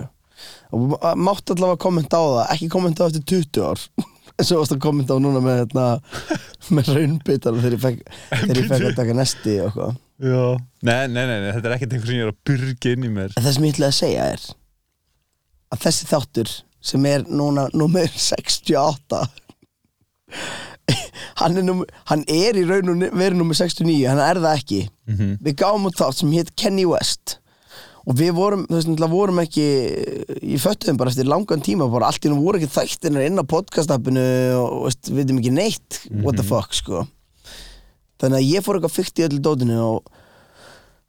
og ma- máttu allavega að kommenta á það ekki kommenta á eftir 20 ár eins og varst að kommenta á núna með hérna, með raunbitar þegar ég fekk, þegar ég fekk að taka nesti og eitthvað Já Nei, nei, nei, nei þetta er ekkert eitthvað sem ég er að byrga inn í mér en það sem ég ætlaði að segja er að þessi þáttur sem er núna nummer 68 hann er, númer, hann er í raun og verið nummer 69 hann er það ekki Mhm. við gáum út þátt sem hétt Kenny West og við vorum, þú veist, náttúrulega vorum ekki ég föttuðum bara eftir langan tíma bara allt í nú voru ekki þættinir inn á podcastappinu og þú veist, við veitum ekki neitt what Mhm. the fuck, sko þannig að ég fór eitthvað fyrt í öllu dótinu og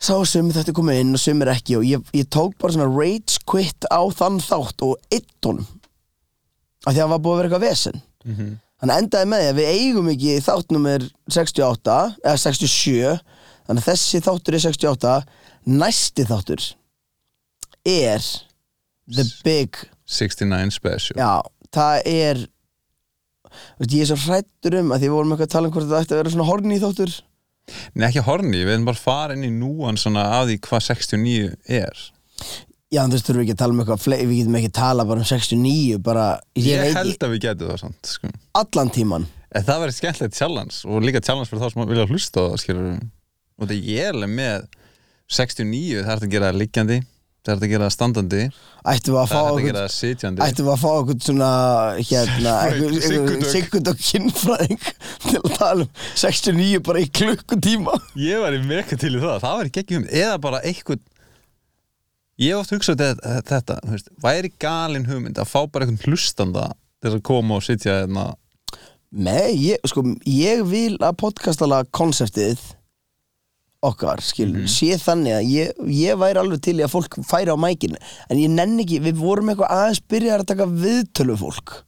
sá að sumir þetta komið inn og sumir ekki og ég, ég tók bara svona rage quit á þann þátt og eitt honum af því að það var búið að vera eitthvað vesen Þannig endaði með því að við eigum ekki þátt nummer 68 eða 67 þannig að þessi þáttur er 68 næsti þáttur er The Big 69 special Já, það er veist, ég er svo hrættur um að því við vorum eitthvað að tala um hvort þetta ætti að vera svona horni í þáttur Nei, ekki horny, við erum bara farin í núan svona að því hvað 69 er Já, en þú veist, þurfum við ekki að tala um eitthvað fle- við getum ekki að tala bara um 69 bara, ég, Ég, veit held að við getum það samt sko. allan tíman En það verður skemmtilegt challenge og líka challenge fyrir þá sem vilja hlusta á það skilur Og það ég er alveg með 69, það er hægt að gera það liggjandi Það er hægt að gera það standandi ættum við að fá Það er hægt að okkur gera það sitjandi ættum við að fá okkur svona hérna, Sigfús- Sigfús- siggund og kinnfræðing til að tala um 69 bara í klukkutíma Ég var í meka til í það, það var ekki ekki um Eða bara einhvern ég hef oft hugsað þetta, þetta þú veist, væri galin hugmynd að fá bara einhvern hlustanda til að koma og sitja hérna Nei, ég, sko, ég vil að podcastala konseptið okkar, skil, Mhm. sé þannig að ég, ég væri alveg til í að fólk færi á mækin, en ég nenni ekki við vorum eitthvað aðeins byrjar að taka viðtölu við fólk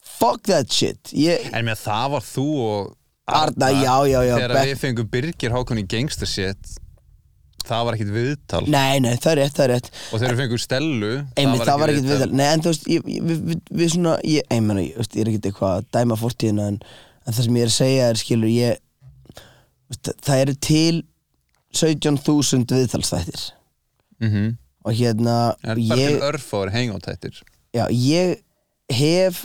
fuck that shit ég, en með það var þú og Arna, já, já, já, þegar Beck- við fengum Birgir Hákon í gangster shit það var ekkit viðtal nei, nei, það er rétt, það er rétt og þegar við fengum Stellu einmitt, það var ekkert viðtal Nei, en þú veist, ég, ég, við, við, við svona ég, einmitt, ég, veist, ég er ekkert eitthvað að dæma fórtíðina en, en það sem ég er að segja er, skilur, ég þú veist, það eru til 17.000 viðtalsþættir Mhm. og hérna en bara ég, til örfáður hangátættir já, ég hef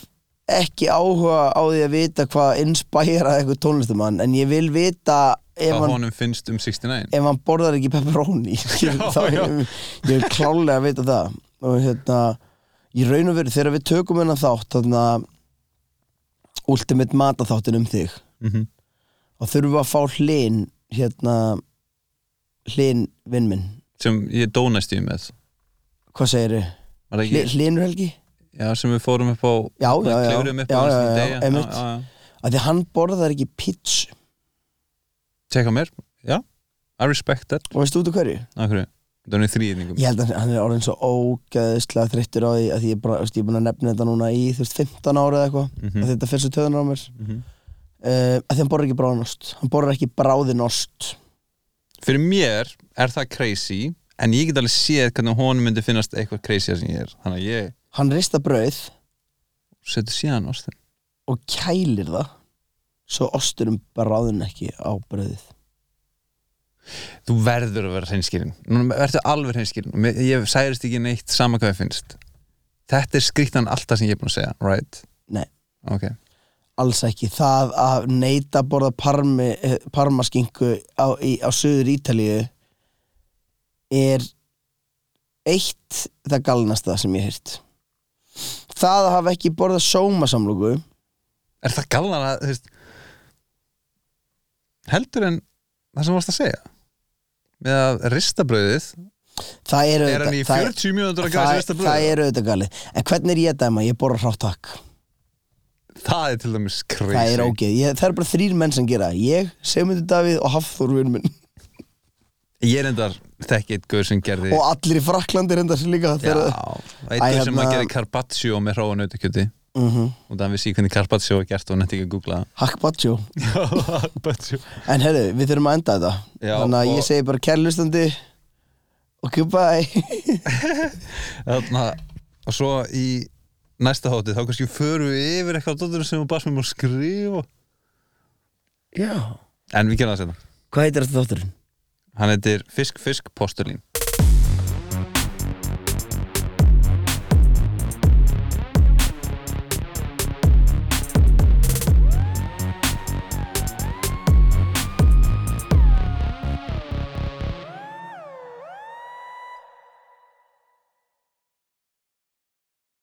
ekki áhuga á því að vita hvað inspæra eitthvað tónlistumann en ég vil vita ef hvað hann honum finnst um 69 ef hann borðar ekki pepperoni Já, þá já. ég, ég er klálega að vita það og hérna ég raun og veru þegar við tökum hennan þátt þarna ultimate mataþáttin um þig Mhm. og þurfum við að fá hlinn hérna hlinn vinn minn sem ég dónast í með hvað segir þið? Var það ekki, Hlinur Helgi? já, sem við fórum upp á Já, já, já. klifrum um upp á Já, já, næstu já, degi. einmitt. já, já. Af því hann borðar ekki pizza Tjekka mér, já I respect that, og veistu út af hverju? af hverju Það er nú í þrýðningum Ég held að hann er orðin svo ógeðislega þreyttur á því að því ég, bara, veist, ég er búin að nefna þetta núna í þú veist 15 ára eða eitthvað Mhm. að þetta fyrir svo töðunar á mér mm Mhm. að því hann borðar ekki bráðin ost hann borðar ekki bráðin ost Fyrir mér er það crazy en ég get alveg séð hvernig honum myndi finnast eitthvað crazy sem ég er þannig að ég hann rista brauð setur síðan ástin og kælir það svo osturum bráðin ekki á brauðið Þú verður að vera hreinskýrin Núna verður alveg hreinskýrin Mér- Ég særist ekki neitt sama hvað ég finnst Þetta er skrýttan alltaf sem ég er búin að segja Right? Nei. Ok alls ekki það að neita að borða parmi, eh, parmaskingu á, í, á söður Ítalíu er eitt það galnasta sem ég heirt það að hafa ekki borðað sómasamlóku Er það galnar að þú veist, heldur en það sem varst að segja með að ristabröðið það er er hann auðvitað í það er- 40 mínútur að gæða það, ristabröðið það er auðvitað galið en hvernig er ég að dæma, ég borða hráttak Það er til dæmis crazy það er ógeð, ég, það er bara þrýr menn sem gera það. ég, Sigmundur Davíð og Hafþór vinn minn Ég er endar þekki eitt guður sem gerði og allir í Fraklandi reyndar sér líka Já, þegar, eitt Æ, guður sem að hérna- gerði carpaccio með hróa nautakjöti mm -hmm, og þannig vissi ég hvernig carpaccio er gert og hann hætti ekki að googla Hakkbatsjó það Já, carpaccio en herru, við þurfum að enda þetta Já, þannig að og- ég segi bara kærlustandi og goodbye Þarna, Og svo í næsta hótið þá kannski förum við yfir eitthvað á dótturinn sem við bara sem við má skrifa já, En við gerum það sérna hvað heitir þetta þátturinn? Hann heitir Fisk Fisk Postulín